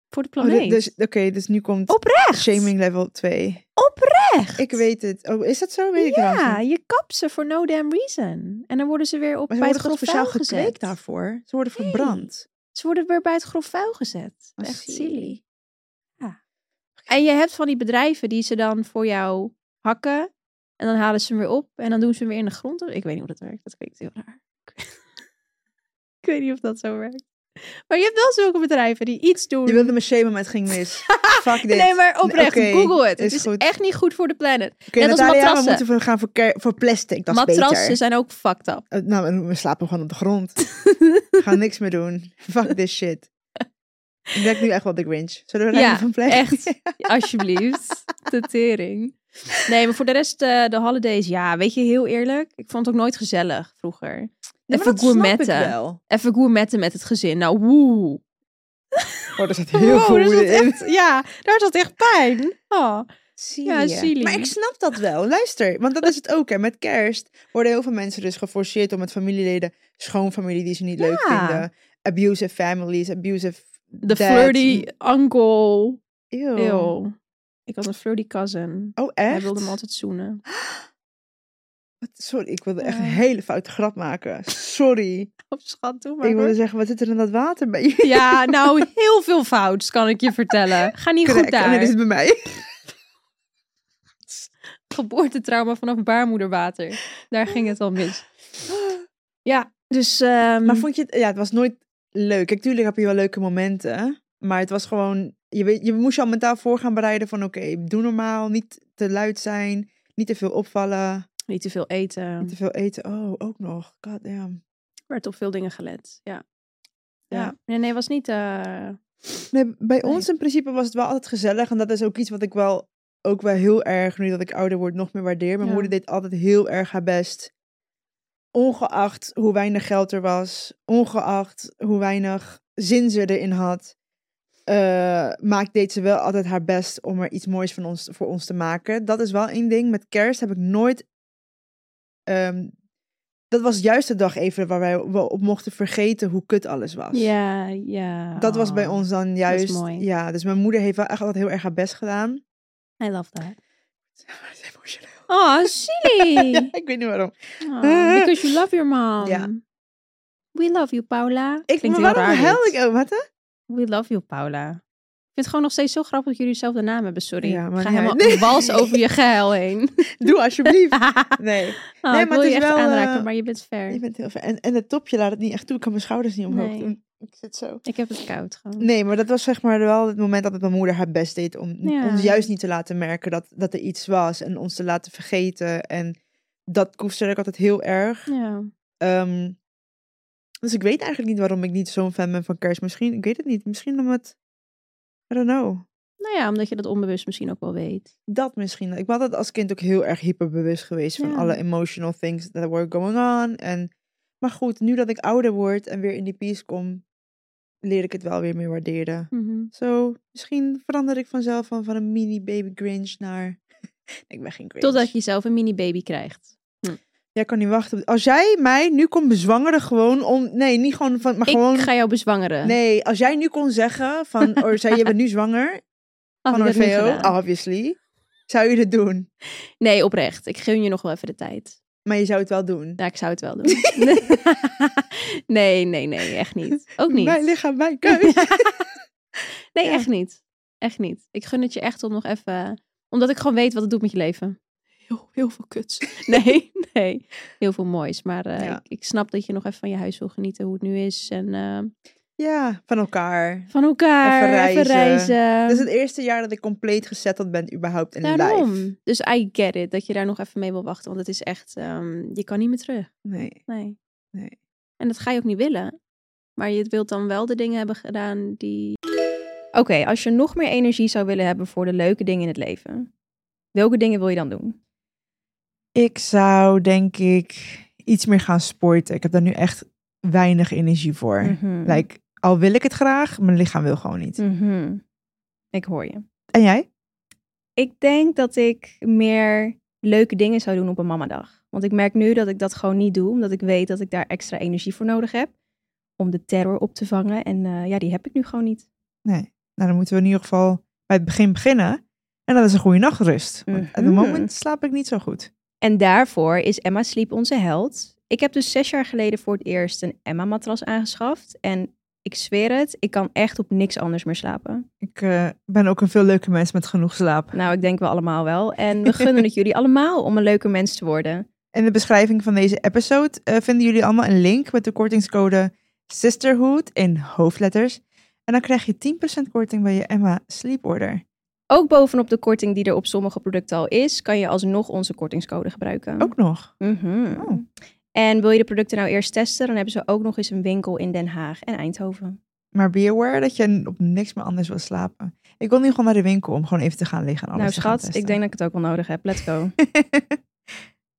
Speaker 3: Voor de
Speaker 4: Oh, dit-
Speaker 3: planeet.
Speaker 4: dus, Oké, dus nu komt
Speaker 3: Oprecht.
Speaker 4: shaming level 2.
Speaker 3: Oprecht.
Speaker 4: Ik weet het. Oh, is dat zo? Weet ik trouwens
Speaker 3: Ja,
Speaker 4: niet.
Speaker 3: je kapt ze voor no damn reason. En dan worden ze weer op
Speaker 4: Maar ze
Speaker 3: bij
Speaker 4: worden
Speaker 3: het
Speaker 4: gewoon
Speaker 3: grof
Speaker 4: speciaal
Speaker 3: vuil
Speaker 4: gekweekt
Speaker 3: gezet.
Speaker 4: daarvoor. Ze worden verbrand.
Speaker 3: Ze worden weer bij het grof vuil gezet.
Speaker 4: Ah,
Speaker 3: Echt
Speaker 4: zie.
Speaker 3: silly. Ja. En je hebt van die bedrijven die ze dan voor jou hakken. En dan halen ze hem weer op. En dan doen ze hem weer in de grond. Ik weet niet hoe dat werkt. Dat klinkt heel raar. Ik weet niet of dat zo werkt. Maar je hebt wel zulke bedrijven die iets doen.
Speaker 4: Je wilde me shamen, maar het ging mis. Fuck dit.
Speaker 3: Nee, maar oprecht.
Speaker 4: Oké,
Speaker 3: Google het. Het
Speaker 4: is
Speaker 3: is
Speaker 4: goed.
Speaker 3: echt niet goed voor de planet.
Speaker 4: Oké,
Speaker 3: Net als
Speaker 4: Natalia, we
Speaker 3: matrassen.
Speaker 4: moeten voor- gaan voor, ker- voor plastic. Dat
Speaker 3: Matrassen
Speaker 4: is
Speaker 3: zijn ook fucked up.
Speaker 4: beter. Eh, Nou, we- we slapen gewoon op de grond. we gaan niks meer doen. Fuck this shit. Ik denk nu echt wel de Grinch. Zullen we naar
Speaker 3: Ja,
Speaker 4: van plek?
Speaker 3: echt. Alsjeblieft. De tering. Nee, maar voor de rest, eh, de holidays, ja, weet je, heel eerlijk. Ik vond het ook nooit gezellig vroeger.
Speaker 4: Nee, maar
Speaker 3: Even
Speaker 4: dat snap ik
Speaker 3: gourmetten.
Speaker 4: wel.
Speaker 3: Even gourmetten met het gezin. Nou, woe.
Speaker 4: Oh, daar zit heel
Speaker 3: Wow,
Speaker 4: veel
Speaker 3: daar
Speaker 4: woede
Speaker 3: zat
Speaker 4: in.
Speaker 3: echt- ja, daar zat echt pijn. Oh.
Speaker 4: Zie
Speaker 3: Ja,
Speaker 4: je.
Speaker 3: silly.
Speaker 4: Maar ik snap dat wel. Luister, want dat is het ook. Hè. Met kerst worden heel veel mensen dus geforceerd om met familieleden, schoonfamilie die ze niet leuk
Speaker 3: Ja.
Speaker 4: vinden, abusive families, abusive.
Speaker 3: De
Speaker 4: Dad.
Speaker 3: flirty uncle. Oh.
Speaker 4: Ew.
Speaker 3: Ew. Ik had een flirty cousin.
Speaker 4: Oh,
Speaker 3: Hij
Speaker 4: echt?
Speaker 3: wilde hem altijd zoenen.
Speaker 4: Wat- Sorry, ik wilde echt een
Speaker 3: Ja.
Speaker 4: hele foute grap maken. Sorry.
Speaker 3: Op schat toe, maar
Speaker 4: ik wilde
Speaker 3: hoor.
Speaker 4: zeggen, wat zit er in dat water bij je?
Speaker 3: Ja, nou, heel veel fouts kan ik je vertellen. Ga niet goed
Speaker 4: Correct. En dan
Speaker 3: daar.
Speaker 4: is het bij mij.
Speaker 3: Geboortetrauma vanaf baarmoederwater. Daar ging het al mis. Ja, dus... ehm,
Speaker 4: Maar vond je het... Ja, het was nooit leuk. Kijk, tuurlijk heb je wel leuke momenten. Maar het was gewoon... Je, weet, je moest je al mentaal voor gaan bereiden van... Oké, doe normaal. Niet te luid zijn. Niet te veel opvallen.
Speaker 3: niet te veel eten.
Speaker 4: Niet te veel eten. Oh, ook nog. God damn.
Speaker 3: werd op veel dingen gelet. Ja.
Speaker 4: Ja.
Speaker 3: Ja. Nee, nee, was niet. eh,
Speaker 4: Nee, bij
Speaker 3: Nee.
Speaker 4: ons in principe was het wel altijd gezellig. En dat is ook iets wat ik wel ook wel heel erg, nu dat ik ouder word, nog meer waardeer. Mijn
Speaker 3: Ja.
Speaker 4: moeder deed altijd heel erg haar best. Ongeacht hoe weinig geld er was. Ongeacht hoe weinig zin ze erin had. eh, maak, deed ze wel altijd haar best om er iets moois van ons, voor ons te maken. Dat is wel één ding. Met kerst heb ik nooit... ehm, dat was juist de dag even waar wij we op mochten vergeten hoe kut alles was.
Speaker 3: ja, ja.
Speaker 4: Dat was bij ons dan
Speaker 3: Oh, is
Speaker 4: juist.
Speaker 3: mooi.
Speaker 4: Ja, dus mijn moeder heeft wel echt altijd heel erg haar best gedaan.
Speaker 3: I love that.
Speaker 4: Het is emotioneel.
Speaker 3: Oh, silly.
Speaker 4: Ja, ik weet niet waarom.
Speaker 3: Aw, because you love your mom.
Speaker 4: Ja.
Speaker 3: We love you, Paula.
Speaker 4: Ik, maar
Speaker 3: heel
Speaker 4: waarom
Speaker 3: raar,
Speaker 4: huil
Speaker 3: dit.
Speaker 4: ik ook? Wat hè?
Speaker 3: We love you, Paula. Ik vind het gewoon nog steeds zo grappig dat jullie dezelfde naam hebben. Sorry.
Speaker 4: Ja, maar
Speaker 3: Ik Ga
Speaker 4: niet
Speaker 3: helemaal
Speaker 4: uit. Nee.
Speaker 3: een wals over je geil heen.
Speaker 4: Doe alsjeblieft.
Speaker 3: Ah,
Speaker 4: Nee,
Speaker 3: ik
Speaker 4: maar
Speaker 3: wil
Speaker 4: het
Speaker 3: je
Speaker 4: is
Speaker 3: echt
Speaker 4: wel,
Speaker 3: aanraken,
Speaker 4: eh,
Speaker 3: maar je bent ver.
Speaker 4: je bent heel ver. En, en het topje laat het niet echt toe. Ik kan mijn schouders niet omhoog
Speaker 3: Nee.
Speaker 4: doen. Ik zit zo.
Speaker 3: Ik heb het koud gewoon.
Speaker 4: Nee, maar dat was zeg maar wel het moment dat mijn moeder haar best deed om
Speaker 3: Ja.
Speaker 4: ons juist niet te laten merken dat, dat er iets was en ons te laten vergeten. En dat koesterde ik altijd heel erg.
Speaker 3: Ja.
Speaker 4: Ehm, dus ik weet eigenlijk niet waarom ik niet zo'n fan ben van kerst. Misschien, ik weet het niet. Misschien omdat, I don't know.
Speaker 3: Nou ja, omdat je dat onbewust misschien ook wel weet.
Speaker 4: Dat misschien. Ik ben altijd als kind ook heel erg hyperbewust geweest van
Speaker 3: Ja.
Speaker 4: alle emotional things that were going on. En, maar goed, nu dat ik ouder word en weer in die peace kom, leer ik het wel weer meer waarderen.
Speaker 3: Mhm.
Speaker 4: Zo, misschien verander ik vanzelf van, van een mini baby Grinch naar... ik ben geen Grinch.
Speaker 3: Totdat je zelf een mini-baby krijgt.
Speaker 4: Jij kan niet wachten. op- Als jij mij nu kon bezwangeren gewoon om... Nee, niet gewoon van... Maar gewoon...
Speaker 3: Ik ga jou bezwangeren.
Speaker 4: Nee, als jij nu kon zeggen van Orfeo, je bent nu zwanger
Speaker 3: Oh, Had
Speaker 4: van
Speaker 3: ik dat niet
Speaker 4: Orfeo,
Speaker 3: gedaan.
Speaker 4: obviously, zou je dit doen.
Speaker 3: Nee, oprecht. Ik gun je nog wel even de tijd.
Speaker 4: Maar je zou het wel doen.
Speaker 3: Ja, ik zou het wel doen. nee, nee, nee. Echt niet. Ook niet.
Speaker 4: Mijn lichaam, mijn keus.
Speaker 3: Nee,
Speaker 4: Ja.
Speaker 3: echt niet. Echt niet. Ik gun het je echt om nog even... Omdat ik gewoon weet wat het doet met je leven. Heel, heel veel kuts. Nee, nee. Heel veel moois. Maar eh,
Speaker 4: Ja.
Speaker 3: ik, ik snap dat je nog even van je huis wil genieten. Hoe het nu is. En eh,
Speaker 4: ja, van elkaar.
Speaker 3: van elkaar.
Speaker 4: Even
Speaker 3: Even
Speaker 4: reizen.
Speaker 3: reizen.
Speaker 4: Dat is het eerste jaar dat ik compleet gezetteld ben überhaupt in
Speaker 3: Daarom.
Speaker 4: life.
Speaker 3: Dus I get it. Dat je daar nog even mee wil wachten. Want het is echt... ehm, je kan niet meer terug.
Speaker 4: Nee.
Speaker 3: Nee.
Speaker 4: Nee.
Speaker 3: En dat ga je ook niet willen. Maar je wilt dan wel de dingen hebben gedaan die.
Speaker 2: Oké, als je nog meer energie zou willen hebben voor de leuke dingen in het leven, welke dingen wil je dan doen?
Speaker 4: Ik zou denk ik iets meer gaan sporten. Ik heb daar nu echt weinig energie voor.
Speaker 2: Mhm.
Speaker 4: Like, al wil ik het graag, mijn lichaam wil gewoon niet.
Speaker 2: Mhm. Ik hoor je.
Speaker 4: En jij?
Speaker 2: Ik denk dat ik meer leuke dingen zou doen op een mamadag. Want ik merk nu dat ik dat gewoon niet doe, omdat ik weet dat ik daar extra energie voor nodig heb. Om de terror op te vangen. En eh, ja, die heb ik nu gewoon niet.
Speaker 4: Nee. Nou, dan moeten we in ieder geval bij het begin beginnen. En dat is een goede nachtrust. Want op het
Speaker 2: Mhm.
Speaker 4: moment slaap ik niet zo goed.
Speaker 2: En daarvoor is Emma Sleep onze held. Ik heb dus zes jaar geleden voor het eerst een Emma-matras aangeschaft. En ik zweer het, ik kan echt op niks anders meer slapen.
Speaker 4: Ik eh, ben ook een veel leuke mens met genoeg slaap.
Speaker 2: Nou, ik denk wel allemaal wel. En we gunnen het jullie allemaal om een leuke mens te worden.
Speaker 4: In de beschrijving van deze episode eh, vinden jullie allemaal een link met de kortingscode Sisterhood in hoofdletters. En dan krijg je 10% korting bij je Emma Sleep Order.
Speaker 2: Ook bovenop de korting die er op sommige producten al is, kan je alsnog onze kortingscode gebruiken.
Speaker 4: Ook nog.
Speaker 2: Mhm.
Speaker 4: Oh.
Speaker 2: En wil je de producten nou eerst testen, dan hebben ze ook nog eens een winkel in Den Haag en
Speaker 4: Oh,
Speaker 2: Eindhoven.
Speaker 4: Maar be aware dat je op niks meer anders wil slapen. Ik wil nu gewoon naar de winkel om gewoon even te gaan liggen en alles
Speaker 2: nou
Speaker 4: te gaan
Speaker 2: schat, ik denk dat ik het ook wel nodig heb. Let's go.
Speaker 4: testen.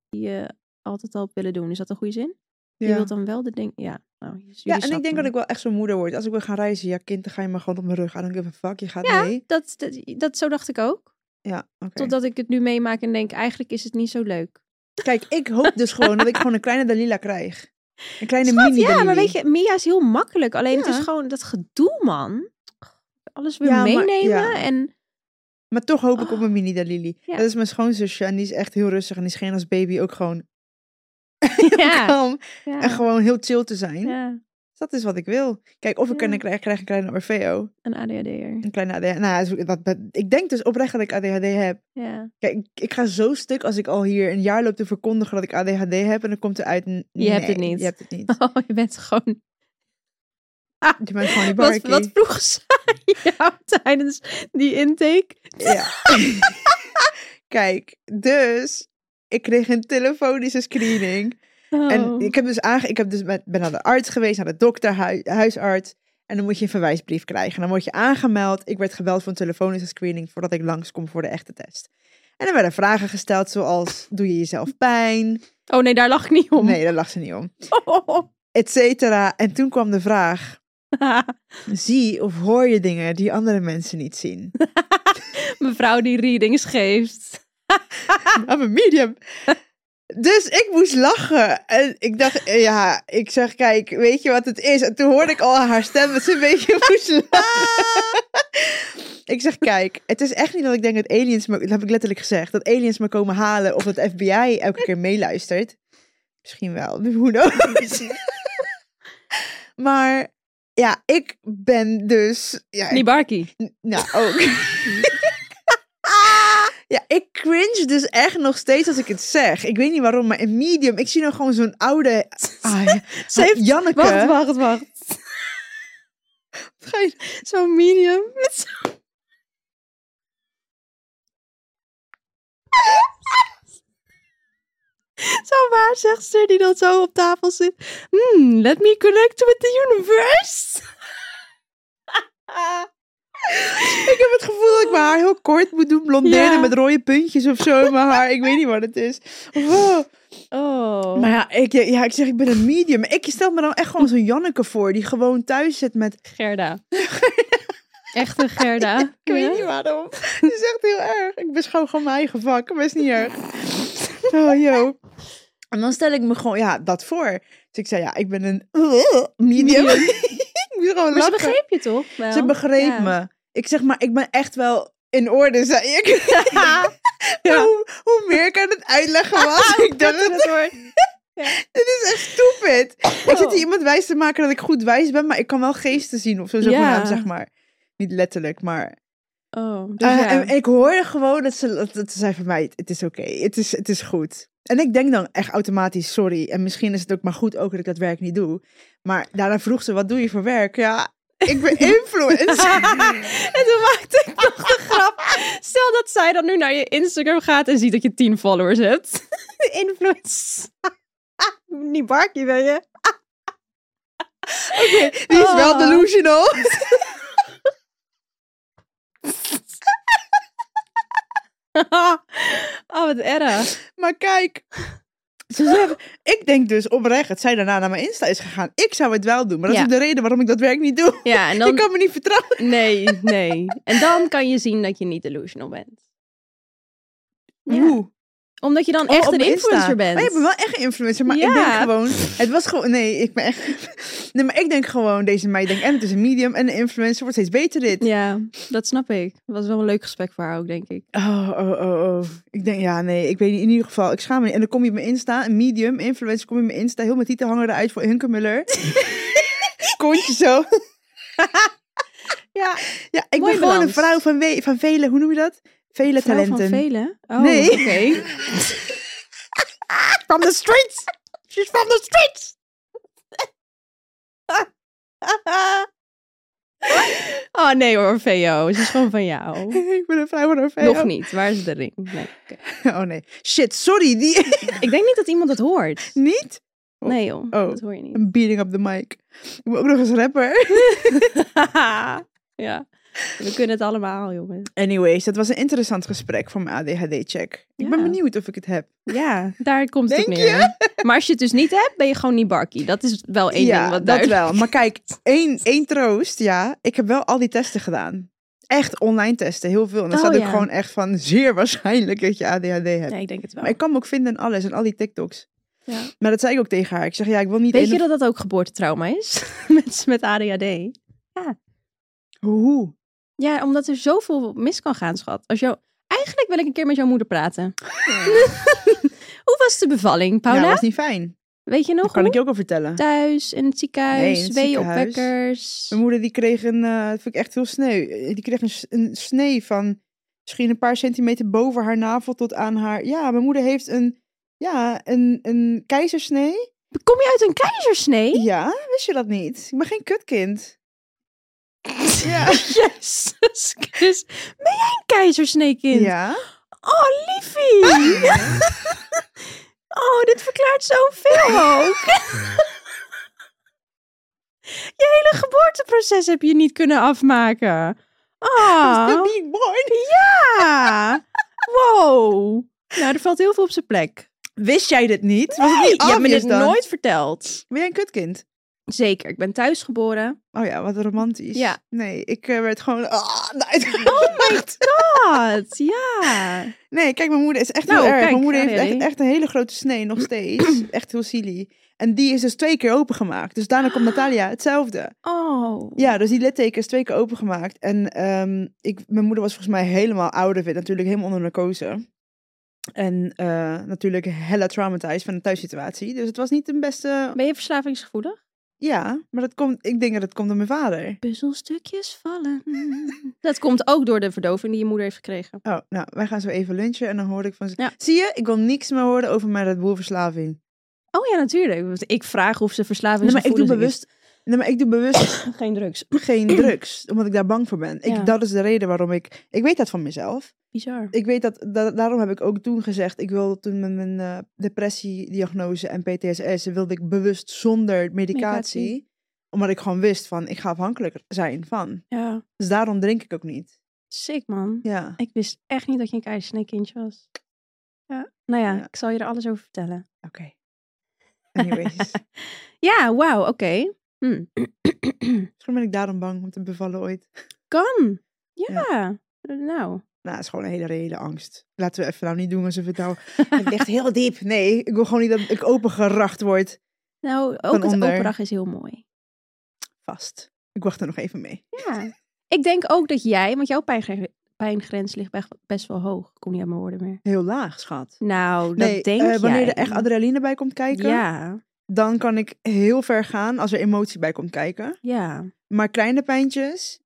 Speaker 3: die je altijd al willen doen. Is dat een goede zin? Je
Speaker 4: ja.
Speaker 3: wilt dan wel de dingen. Ja. Nou, jullie
Speaker 4: Ja, en
Speaker 3: snappen
Speaker 4: ik denk dat
Speaker 3: me.
Speaker 4: ik wel echt zo'n moeder word. Als ik wil gaan reizen, ja kind, dan ga je maar gewoon op mijn rug. I don't give a fuck, je gaat
Speaker 3: Ja,
Speaker 4: mee.
Speaker 3: dat, dat, dat, zo dacht ik ook.
Speaker 4: Ja, oké.
Speaker 3: Totdat ik het nu meemaak en denk, eigenlijk is het niet zo leuk.
Speaker 4: Kijk, ik hoop dus gewoon dat ik gewoon een kleine Dalila krijg. Een kleine
Speaker 3: Schat,
Speaker 4: mini
Speaker 3: ja, maar
Speaker 4: Dalila.
Speaker 3: weet je, Mia is heel makkelijk. Alleen het
Speaker 4: Ja.
Speaker 3: is gewoon dat gedoe, man. Alles weer
Speaker 4: Ja, maar-
Speaker 3: meenemen
Speaker 4: ja.
Speaker 3: en...
Speaker 4: Maar toch hoop ik op
Speaker 3: Oh.
Speaker 4: mijn mini Dalili.
Speaker 3: Ja.
Speaker 4: Dat is mijn schoonzusje en die is echt heel rustig. En die scheen als baby ook gewoon
Speaker 3: Ja.
Speaker 4: kalm en
Speaker 3: ja.
Speaker 4: gewoon heel chill te zijn.
Speaker 3: ja.
Speaker 4: Dus dat is wat ik wil. Kijk, of ik
Speaker 3: Ja.
Speaker 4: een krijg, krijg een kleine Orfeo.
Speaker 3: Een ADHD'er.
Speaker 4: Een kleine ADHD. Nou, zo- dat, dat- ik denk dus oprecht dat ik ADHD heb.
Speaker 3: Ja.
Speaker 4: Kijk, ik, ik ga zo stuk als ik al hier een jaar loop te verkondigen dat ik ADHD heb. En dan komt er uit... Je
Speaker 3: hebt het niet.
Speaker 4: Je hebt het niet.
Speaker 3: Oh, je bent gewoon...
Speaker 4: Je bent gewoon die
Speaker 3: Wat,
Speaker 4: barkie.
Speaker 3: wat vroeg zij jou tijdens die intake?
Speaker 4: Ja. Kijk, dus ik kreeg een telefonische screening.
Speaker 3: Oh.
Speaker 4: En ik heb dus aange... Ik heb dus met, ben naar de arts geweest, naar de dokter, hui- huisarts. En dan moet je een verwijsbrief krijgen. Dan word je aangemeld. Ik werd gebeld voor een telefonische screening voordat ik langskom voor de echte test. En dan werden vragen gesteld zoals, doe je jezelf pijn?
Speaker 3: oh nee, daar lag ik niet om.
Speaker 4: Nee, daar lag ze niet om. Et cetera. En toen kwam de vraag, zie of hoor je dingen die andere mensen niet zien?
Speaker 3: Mevrouw die readings geeft.
Speaker 4: I'm a medium. Dus ik moest lachen. En ik dacht, eh, ja, ik zeg, kijk, weet je wat het is? En toen hoorde ik al aan haar stem dat ze een beetje moest lachen. ik zeg, kijk, het is echt niet dat ik denk dat aliens, me, dat heb ik letterlijk gezegd, dat aliens me komen halen of dat FBI elke keer meeluistert. Misschien wel, who knows. maar ja, ik ben dus... Ja,
Speaker 3: Die barkie.
Speaker 4: N- Nou, ook. ja, ik cringe dus echt nog steeds als ik het zeg. Ik weet niet waarom, maar in medium, ik zie nog gewoon zo'n oude... Ah, ja.
Speaker 3: Ze heeft-
Speaker 4: Janneke.
Speaker 3: Wacht, wacht, wacht.
Speaker 4: Ga je-
Speaker 3: Zo'n medium. Met zo... Zo'n waarzegster die dan zo op tafel zit. Hmm, let me connect with the universe.
Speaker 4: Ik heb het gevoel dat ik mijn haar heel kort moet doen blonderen
Speaker 3: Ja.
Speaker 4: met rode puntjes of zo in mijn haar. Ik weet niet wat het is. Wow.
Speaker 3: Oh.
Speaker 4: Maar ja ik, ja, ik zeg, ik ben een medium. Maar Ik stel me dan echt gewoon zo'n Janneke voor die gewoon thuis zit met...
Speaker 3: Gerda. Echte Gerda.
Speaker 4: Ik weet
Speaker 3: Ja?
Speaker 4: niet waarom. Het is echt heel erg. Ik beschouw gewoon mijn eigen vak, maar is niet erg. Oh, joh. En dan stel ik me gewoon, ja, dat voor. Dus ik zei, ja, ik ben een medium. ik moest gewoon
Speaker 3: Maar ze
Speaker 4: lachen.
Speaker 3: begreep je toch? wel?
Speaker 4: Ze begreep
Speaker 3: Ja.
Speaker 4: me. Ik zeg, maar ik ben echt wel in orde, zei ik. Maar
Speaker 3: Ja. Oh,
Speaker 4: Hoe, hoe meer ik aan het uitleggen was, ik dacht,
Speaker 3: kutter
Speaker 4: het dit is echt stupid. Ik
Speaker 3: Oh.
Speaker 4: zit hier iemand wijs te maken dat ik goed wijs ben, maar ik kan wel geesten zien of zo, zogenaamd,
Speaker 3: Ja.
Speaker 4: zeg maar. Niet letterlijk, maar...
Speaker 3: Oh, dus
Speaker 4: Eh,
Speaker 3: ja.
Speaker 4: en, en ik hoorde gewoon dat ze, dat, dat ze zei van mij, het is oké, het, is, het is goed. En ik denk dan echt automatisch, sorry. En misschien is het ook maar goed ook dat ik dat werk niet doe. Maar daarna vroeg ze, wat doe je voor werk? Ja, ik ben influencer.
Speaker 3: en toen maakte ik nog de grap. Stel dat zij dan nu naar je Instagram gaat en ziet dat je 10 followers hebt. Influence. Niet barkie ben je.
Speaker 4: Die is wel
Speaker 3: Oh.
Speaker 4: delusional.
Speaker 3: oh, wat erg.
Speaker 4: Maar kijk, ze zeggen, ik denk dus oprecht dat zij daarna naar mijn Insta is gegaan. Ik zou het wel doen, maar dat
Speaker 3: Ja.
Speaker 4: is ook de reden waarom ik dat werk niet doe.
Speaker 3: Ja, en
Speaker 4: Je
Speaker 3: dan...
Speaker 4: kan me niet vertrouwen.
Speaker 3: Nee, nee. En dan kan je zien dat je niet delusional bent. Ja.
Speaker 4: Oeh.
Speaker 3: Omdat je dan
Speaker 4: Oh,
Speaker 3: echt
Speaker 4: op
Speaker 3: een
Speaker 4: mijn Insta.
Speaker 3: influencer bent.
Speaker 4: Maar je bent wel echt een influencer. Maar ik
Speaker 3: Ja.
Speaker 4: denk gewoon... Het was gewoon... Nee, ik ben echt... Nee, maar ik denk gewoon... Deze meid denkt... En het is een medium en een influencer. Wordt steeds beter dit.
Speaker 3: Ja, dat snap ik. Dat was wel een leuk gesprek voor haar ook, denk ik.
Speaker 4: Oh, oh, oh, oh. Ik denk... Ja, nee. Ik weet niet. In ieder geval... Ik schaam me niet. En dan kom je op mijn Insta. Een medium. Influencer. Kom je op mijn Insta. Heel mijn titel hangen eruit voor Hunkemuller. Kontje zo.
Speaker 3: Ja,
Speaker 4: Ja, ik
Speaker 3: Mooi
Speaker 4: ben gewoon
Speaker 3: balans.
Speaker 4: een vrouw van, we- van vele... Hoe noem je dat? Vele
Speaker 3: talenten.
Speaker 4: talenten.
Speaker 3: van velen. Oh,
Speaker 4: Nee.
Speaker 3: oké.
Speaker 4: From the streets. She's from the streets.
Speaker 3: oh nee hoor, Orfeo. Ze is gewoon van jou.
Speaker 4: ik ben een vrouw van Orfeo.
Speaker 3: Nog niet. Waar is de ring? Nee, oké.
Speaker 4: Oh nee. Shit, sorry. Die...
Speaker 3: Ik denk niet dat iemand het hoort.
Speaker 4: niet?
Speaker 3: Nee
Speaker 4: Oh.
Speaker 3: joh, dat hoor je niet.
Speaker 4: Een beating op de mic. Ik ben ook nog eens rapper.
Speaker 3: ja, we kunnen het allemaal jongens.
Speaker 4: Anyways, dat was een interessant gesprek voor mijn ADHD-check. Ik
Speaker 3: Ja.
Speaker 4: ben benieuwd of ik het heb.
Speaker 3: Ja, daar komt het op
Speaker 4: Denk
Speaker 3: neer. Maar als je het dus niet hebt, ben je gewoon niet barkie. Dat is wel één
Speaker 4: ja,
Speaker 3: ding wat
Speaker 4: dat
Speaker 3: duidelijk-
Speaker 4: wel. Maar kijk, één, één troost, ja. Ik heb wel al die testen gedaan. Echt online testen, heel veel. En dan
Speaker 3: Oh,
Speaker 4: zat ik
Speaker 3: ja.
Speaker 4: gewoon echt van zeer waarschijnlijk dat je ADHD hebt.
Speaker 3: Nee, ik denk het wel.
Speaker 4: Eh, Maar ik kan me ook vinden in alles, en al die TikToks.
Speaker 3: Ja.
Speaker 4: Maar dat zei ik ook tegen haar. Ik zeg, ja, ik wil niet...
Speaker 3: Weet
Speaker 4: een
Speaker 3: je
Speaker 4: of-
Speaker 3: dat dat ook geboortetrauma is? Mensen met ADHD.
Speaker 4: Hoe?
Speaker 3: Ja, omdat er zoveel mis kan gaan, schat. Als jou... Eigenlijk wil ik een keer met jouw moeder praten. Hoe was de bevalling,
Speaker 4: Nou,
Speaker 3: Paula?
Speaker 4: was niet fijn.
Speaker 3: Weet je
Speaker 4: Dat
Speaker 3: nog
Speaker 4: kan
Speaker 3: hoe?
Speaker 4: ik je ook al vertellen.
Speaker 3: Thuis, in het
Speaker 4: Nee,
Speaker 3: ziekenhuis,
Speaker 4: in het
Speaker 3: weeënopwekkers.
Speaker 4: Mijn moeder die kreeg een, eh, dat vind ik echt heel sneu. Eh, Die kreeg een, s- een snee van misschien een paar centimeter boven haar navel tot aan haar. Ja, mijn moeder heeft een, ja, een, een keizersnee.
Speaker 3: Kom je uit een keizersnee?
Speaker 4: Ja, wist je dat niet? Ik ben geen kutkind. Ja.
Speaker 3: Jezus Christus. Ben jij een keizersneekind?
Speaker 4: Ja.
Speaker 3: Oh, liefie! oh, dit verklaart zoveel ook. je hele geboorteproces heb je niet kunnen afmaken. Ah,
Speaker 4: Still being born.
Speaker 3: ja. Wow. Nou, er valt heel veel op zijn plek.
Speaker 4: Wist jij dit niet? Was het
Speaker 3: Hey,
Speaker 4: niet
Speaker 3: je hebt me
Speaker 4: obvious
Speaker 3: dit
Speaker 4: dan?
Speaker 3: nooit verteld.
Speaker 4: Ben jij een kutkind?
Speaker 3: Zeker, ik ben thuis geboren.
Speaker 4: Oh ja, wat romantisch.
Speaker 3: Ja. Oh
Speaker 4: Nee, ik eh, werd gewoon... Ah, nee.
Speaker 3: Wat? Ja.
Speaker 4: Nee, kijk, mijn moeder is echt
Speaker 3: Nou,
Speaker 4: heel erg.
Speaker 3: kijk,
Speaker 4: mijn moeder
Speaker 3: daar
Speaker 4: heeft
Speaker 3: ben je.
Speaker 4: echt, echt een hele grote snee, nog steeds. echt heel silly. En die is dus twee keer opengemaakt. Dus daarna komt Natalia hetzelfde.
Speaker 3: Oh.
Speaker 4: Ja, dus die litteken is twee keer opengemaakt. En ehm, ik, mijn moeder was volgens mij helemaal out of it. Natuurlijk helemaal onder narcose. En eh, natuurlijk hella traumatized van de thuissituatie. Dus het was niet de beste...
Speaker 3: Ben je verslavingsgevoelig?
Speaker 4: Ja, maar dat komt, ik denk dat het komt door mijn vader.
Speaker 3: Puzzelstukjes vallen. dat komt ook door de verdoving die je moeder heeft gekregen.
Speaker 4: Oh, nou, wij gaan zo even lunchen en dan hoor ik van ze...
Speaker 3: Ja.
Speaker 4: Zie je, ik wil niks meer horen over mijn Red Bull verslaving.
Speaker 3: Oh ja, natuurlijk. Want ik vraag of ze
Speaker 4: Nee, maar ik doe
Speaker 3: verslavingsgevoelig
Speaker 4: bewust... Nee, maar ik doe bewust
Speaker 3: is. Geen drugs.
Speaker 4: geen drugs, omdat ik daar bang voor ben.
Speaker 3: Ja.
Speaker 4: Ik, dat is de reden waarom ik... Ik weet dat van mezelf.
Speaker 3: Bizar.
Speaker 4: Ik weet dat, da- daarom heb ik ook toen gezegd... Ik wil toen met mijn eh, depressiediagnose en PTSS... wilde ik bewust zonder medicatie,
Speaker 3: Medicatie.
Speaker 4: Omdat ik gewoon wist van, ik ga afhankelijk zijn van.
Speaker 3: Ja.
Speaker 4: Dus daarom drink ik ook niet.
Speaker 3: Sick, man.
Speaker 4: Ja.
Speaker 3: Ik wist echt niet dat je een keizersneekindje was. Ja. Nou ja,
Speaker 4: Ja.
Speaker 3: ik zal je er alles over vertellen.
Speaker 4: Oké. Anyways.
Speaker 3: Ja, wauw, oké. Hm.
Speaker 4: Misschien ben ik daarom bang om te bevallen ooit.
Speaker 3: kan. Ja. Nou.
Speaker 4: Nou, het is gewoon een hele reële angst. Laten we even nou niet doen alsof het nou... Het ligt heel diep. Nee, ik wil gewoon niet dat ik opengeracht word.
Speaker 3: Nou, ook
Speaker 4: Van
Speaker 3: het
Speaker 4: onder.
Speaker 3: opdracht is heel mooi.
Speaker 4: Vast. Ik wacht er nog even mee.
Speaker 3: Ja. ik denk ook dat jij, want jouw pijngre- pijngrens ligt beg- best wel hoog. Ik Kom niet aan mijn woorden meer.
Speaker 4: Heel laag, schat.
Speaker 3: Nou, dat
Speaker 4: Nee,
Speaker 3: denk
Speaker 4: eh,
Speaker 3: jij.
Speaker 4: wanneer er echt adrenaline bij komt kijken,
Speaker 3: Ja,
Speaker 4: dan kan ik heel ver gaan als er emotie bij komt kijken.
Speaker 3: ja.
Speaker 4: Maar kleine pijntjes.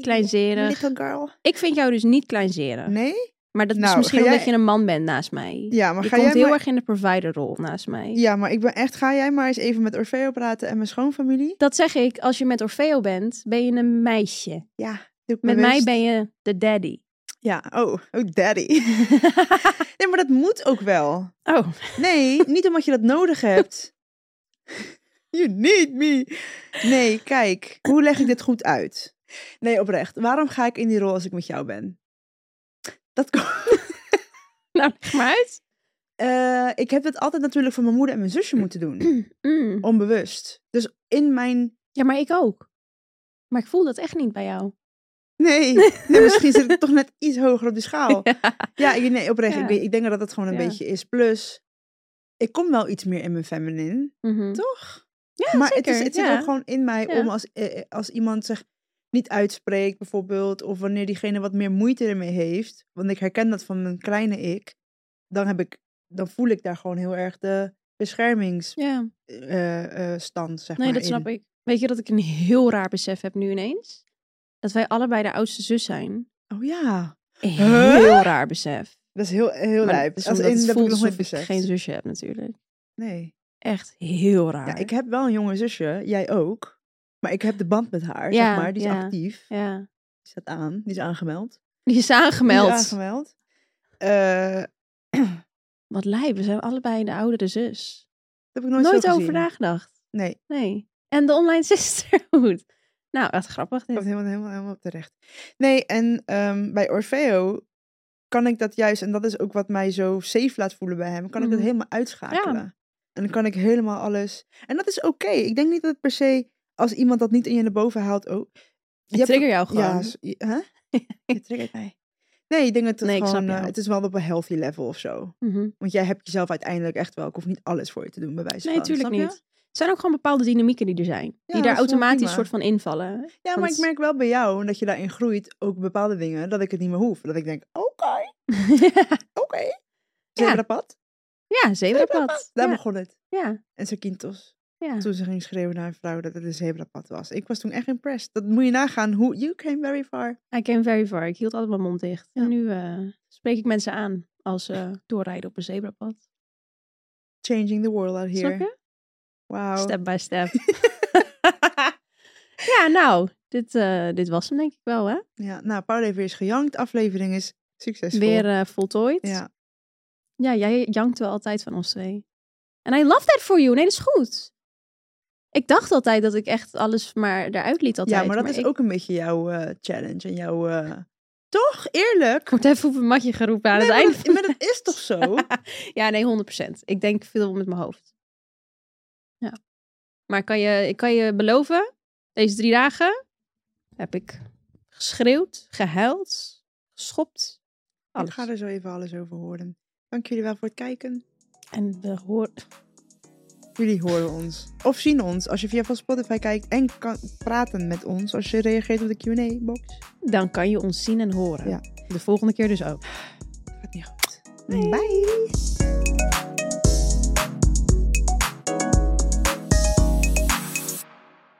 Speaker 3: Kleinzerig.
Speaker 4: Little girl.
Speaker 3: Ik vind jou dus niet kleinzerig.
Speaker 4: Nee?
Speaker 3: Maar dat is
Speaker 4: Nou,
Speaker 3: misschien
Speaker 4: ga
Speaker 3: omdat
Speaker 4: jij-
Speaker 3: je een man bent naast mij.
Speaker 4: Ja, maar
Speaker 3: je
Speaker 4: ga
Speaker 3: komt
Speaker 4: jij
Speaker 3: heel
Speaker 4: maar...
Speaker 3: erg in de providerrol naast mij.
Speaker 4: Ja, maar ik ben echt. Ga jij maar eens even met Orfeo praten en mijn schoonfamilie?
Speaker 3: Dat zeg ik, als je met Orfeo bent, ben je een meisje.
Speaker 4: Ja. Doe ik
Speaker 3: Met
Speaker 4: mijn
Speaker 3: mij
Speaker 4: best.
Speaker 3: ben je de daddy.
Speaker 4: Ja. Oh, oh, daddy. nee, maar dat moet ook wel.
Speaker 3: oh,
Speaker 4: Nee, niet omdat je dat nodig hebt. You need me. Nee, kijk, hoe leg ik dit goed uit? Nee, oprecht. Waarom ga ik in die rol als ik met jou ben? Dat komt.
Speaker 3: nou, leg maar uit.
Speaker 4: Eh, ik heb het altijd natuurlijk van mijn moeder en mijn zusje moeten doen.
Speaker 3: Mm.
Speaker 4: Onbewust. Dus in mijn.
Speaker 3: Ja, maar ik ook. Maar ik voel dat echt niet bij jou.
Speaker 4: Nee, nee misschien zit ik toch net iets hoger op de schaal. Ja, ik, nee, oprecht.
Speaker 3: Ja.
Speaker 4: Ik, weet- ik denk dat dat gewoon een
Speaker 3: Ja.
Speaker 4: beetje is. Plus, ik kom wel iets meer in mijn feminine.
Speaker 3: Mhm.
Speaker 4: Toch?
Speaker 3: Ja,
Speaker 4: maar
Speaker 3: zeker.
Speaker 4: het, is, het zit
Speaker 3: ja.
Speaker 4: ook gewoon in mij
Speaker 3: Ja.
Speaker 4: om als, eh, eh, als iemand zich niet uitspreekt, bijvoorbeeld, of wanneer diegene wat meer moeite ermee heeft, want ik herken dat van mijn kleine ik, dan, heb ik, dan voel ik daar gewoon heel erg de beschermingsstand,
Speaker 3: Ja, nee,
Speaker 4: zeg maar.
Speaker 3: dat snap
Speaker 4: in.
Speaker 3: ik. Weet je dat ik een heel raar besef heb nu ineens? Dat wij allebei de oudste zus zijn.
Speaker 4: Oh ja,
Speaker 3: Een
Speaker 4: Huh?
Speaker 3: heel raar besef.
Speaker 4: dat is heel, eh, heel
Speaker 3: Maar
Speaker 4: lijp.
Speaker 3: het is
Speaker 4: Als
Speaker 3: omdat
Speaker 4: in,
Speaker 3: het
Speaker 4: dat heb
Speaker 3: voelt
Speaker 4: ik nog
Speaker 3: alsof
Speaker 4: nooit beseft.
Speaker 3: geen zusje heb natuurlijk.
Speaker 4: Nee.
Speaker 3: Echt heel raar.
Speaker 4: Ja, ik heb wel een jonge zusje, jij ook. Maar ik heb de band met haar,
Speaker 3: Ja,
Speaker 4: zeg maar. Die is
Speaker 3: ja.
Speaker 4: actief.
Speaker 3: Ja.
Speaker 4: Die staat aan. Die is aangemeld.
Speaker 3: Die is aangemeld.
Speaker 4: Die is aangemeld. Eh,
Speaker 3: Wat lijp, we zijn allebei de oudere zus.
Speaker 4: Dat heb ik nooit,
Speaker 3: Nooit,
Speaker 4: zo
Speaker 3: over
Speaker 4: gezien.
Speaker 3: nagedacht.
Speaker 4: Nee, ik
Speaker 3: Nee. En de online sisterhood. Nou, echt grappig
Speaker 4: was
Speaker 3: dit.
Speaker 4: helemaal, helemaal, helemaal terecht. Nee, en ehm, bij Orfeo kan ik dat juist, en dat is ook wat mij zo safe laat voelen bij hem, kan ik dat
Speaker 3: Mhm.
Speaker 4: helemaal uitschakelen. En dan kan ik helemaal alles. En dat is oké. Ik denk niet dat het per se, als iemand dat niet in je naar boven haalt, oh.
Speaker 3: Ik trigger jou
Speaker 4: gewoon.
Speaker 3: gewoon.
Speaker 4: Ja, s- je- hè? je triggert mij. Nee, ik denk dat het
Speaker 3: Nee, ik snap
Speaker 4: gewoon, eh,
Speaker 3: jou.
Speaker 4: het is wel op een healthy level of zo.
Speaker 3: Mhm.
Speaker 4: Want jij hebt jezelf uiteindelijk echt wel, ik hoef niet alles voor je te doen, bij wijze
Speaker 3: Nee,
Speaker 4: van.
Speaker 3: tuurlijk
Speaker 4: snap je?
Speaker 3: niet. Het zijn ook gewoon bepaalde dynamieken die er zijn. die
Speaker 4: dat is
Speaker 3: daar
Speaker 4: wel
Speaker 3: automatisch
Speaker 4: prima.
Speaker 3: soort van invallen.
Speaker 4: Ja, maar
Speaker 3: Want-
Speaker 4: ik merk wel bij jou dat je daarin groeit, ook bepaalde dingen, dat ik het niet meer hoef. Dat ik denk, oké, oké,
Speaker 3: ja.
Speaker 4: zebrapad.
Speaker 3: Ja, zebrapad.
Speaker 4: Daar
Speaker 3: ja.
Speaker 4: begon het.
Speaker 3: ja,
Speaker 4: En Sakintos.
Speaker 3: ja.
Speaker 4: Toen ze ging schreeuwen naar een vrouw dat het een zebrapad was. Ik was toen echt impressed. Dat moet je nagaan. Hoe, you came very far.
Speaker 3: I came very far. Ik hield altijd mijn mond dicht.
Speaker 4: Ja.
Speaker 3: En nu eh, spreek ik mensen aan als ze doorrijden op een zebrapad.
Speaker 4: Changing the world out
Speaker 3: Snap
Speaker 4: here.
Speaker 3: je?
Speaker 4: Wauw.
Speaker 3: Step by step. ja, nou, dit, eh, dit was hem denk ik wel, hè?
Speaker 4: Ja, nou, Paul heeft weer eens gejankt. Aflevering is succesvol.
Speaker 3: Weer eh, voltooid.
Speaker 4: Ja.
Speaker 3: Ja, jij jankt wel altijd van ons twee. En I love that for you. Nee, dat is goed. Ik dacht altijd dat ik echt alles maar eruit liet altijd.
Speaker 4: ja, maar dat is
Speaker 3: ik
Speaker 4: ook een beetje jouw eh, challenge en jouw... eh, Toch? Eerlijk?
Speaker 3: word even op een matje geroepen aan
Speaker 4: Nee,
Speaker 3: het
Speaker 4: maar,
Speaker 3: einde.
Speaker 4: dat, maar dat is toch zo?
Speaker 3: ja, nee, 100%. Ik denk veel met mijn hoofd. Ja. Maar ik kan je, ik kan je beloven, deze drie dagen heb ik geschreeuwd, gehuild, geschopt.
Speaker 4: Ik
Speaker 3: Alles.
Speaker 4: ga er zo even alles over horen. Dank jullie wel voor het kijken.
Speaker 3: En we horen...
Speaker 4: Jullie horen ons. Of zien ons als je via van Spotify kijkt en kan praten met ons als je reageert op de Q&A-box.
Speaker 3: Dan kan je ons zien en horen.
Speaker 4: Ja.
Speaker 3: De volgende keer dus ook.
Speaker 4: Gaat niet goed. Bye!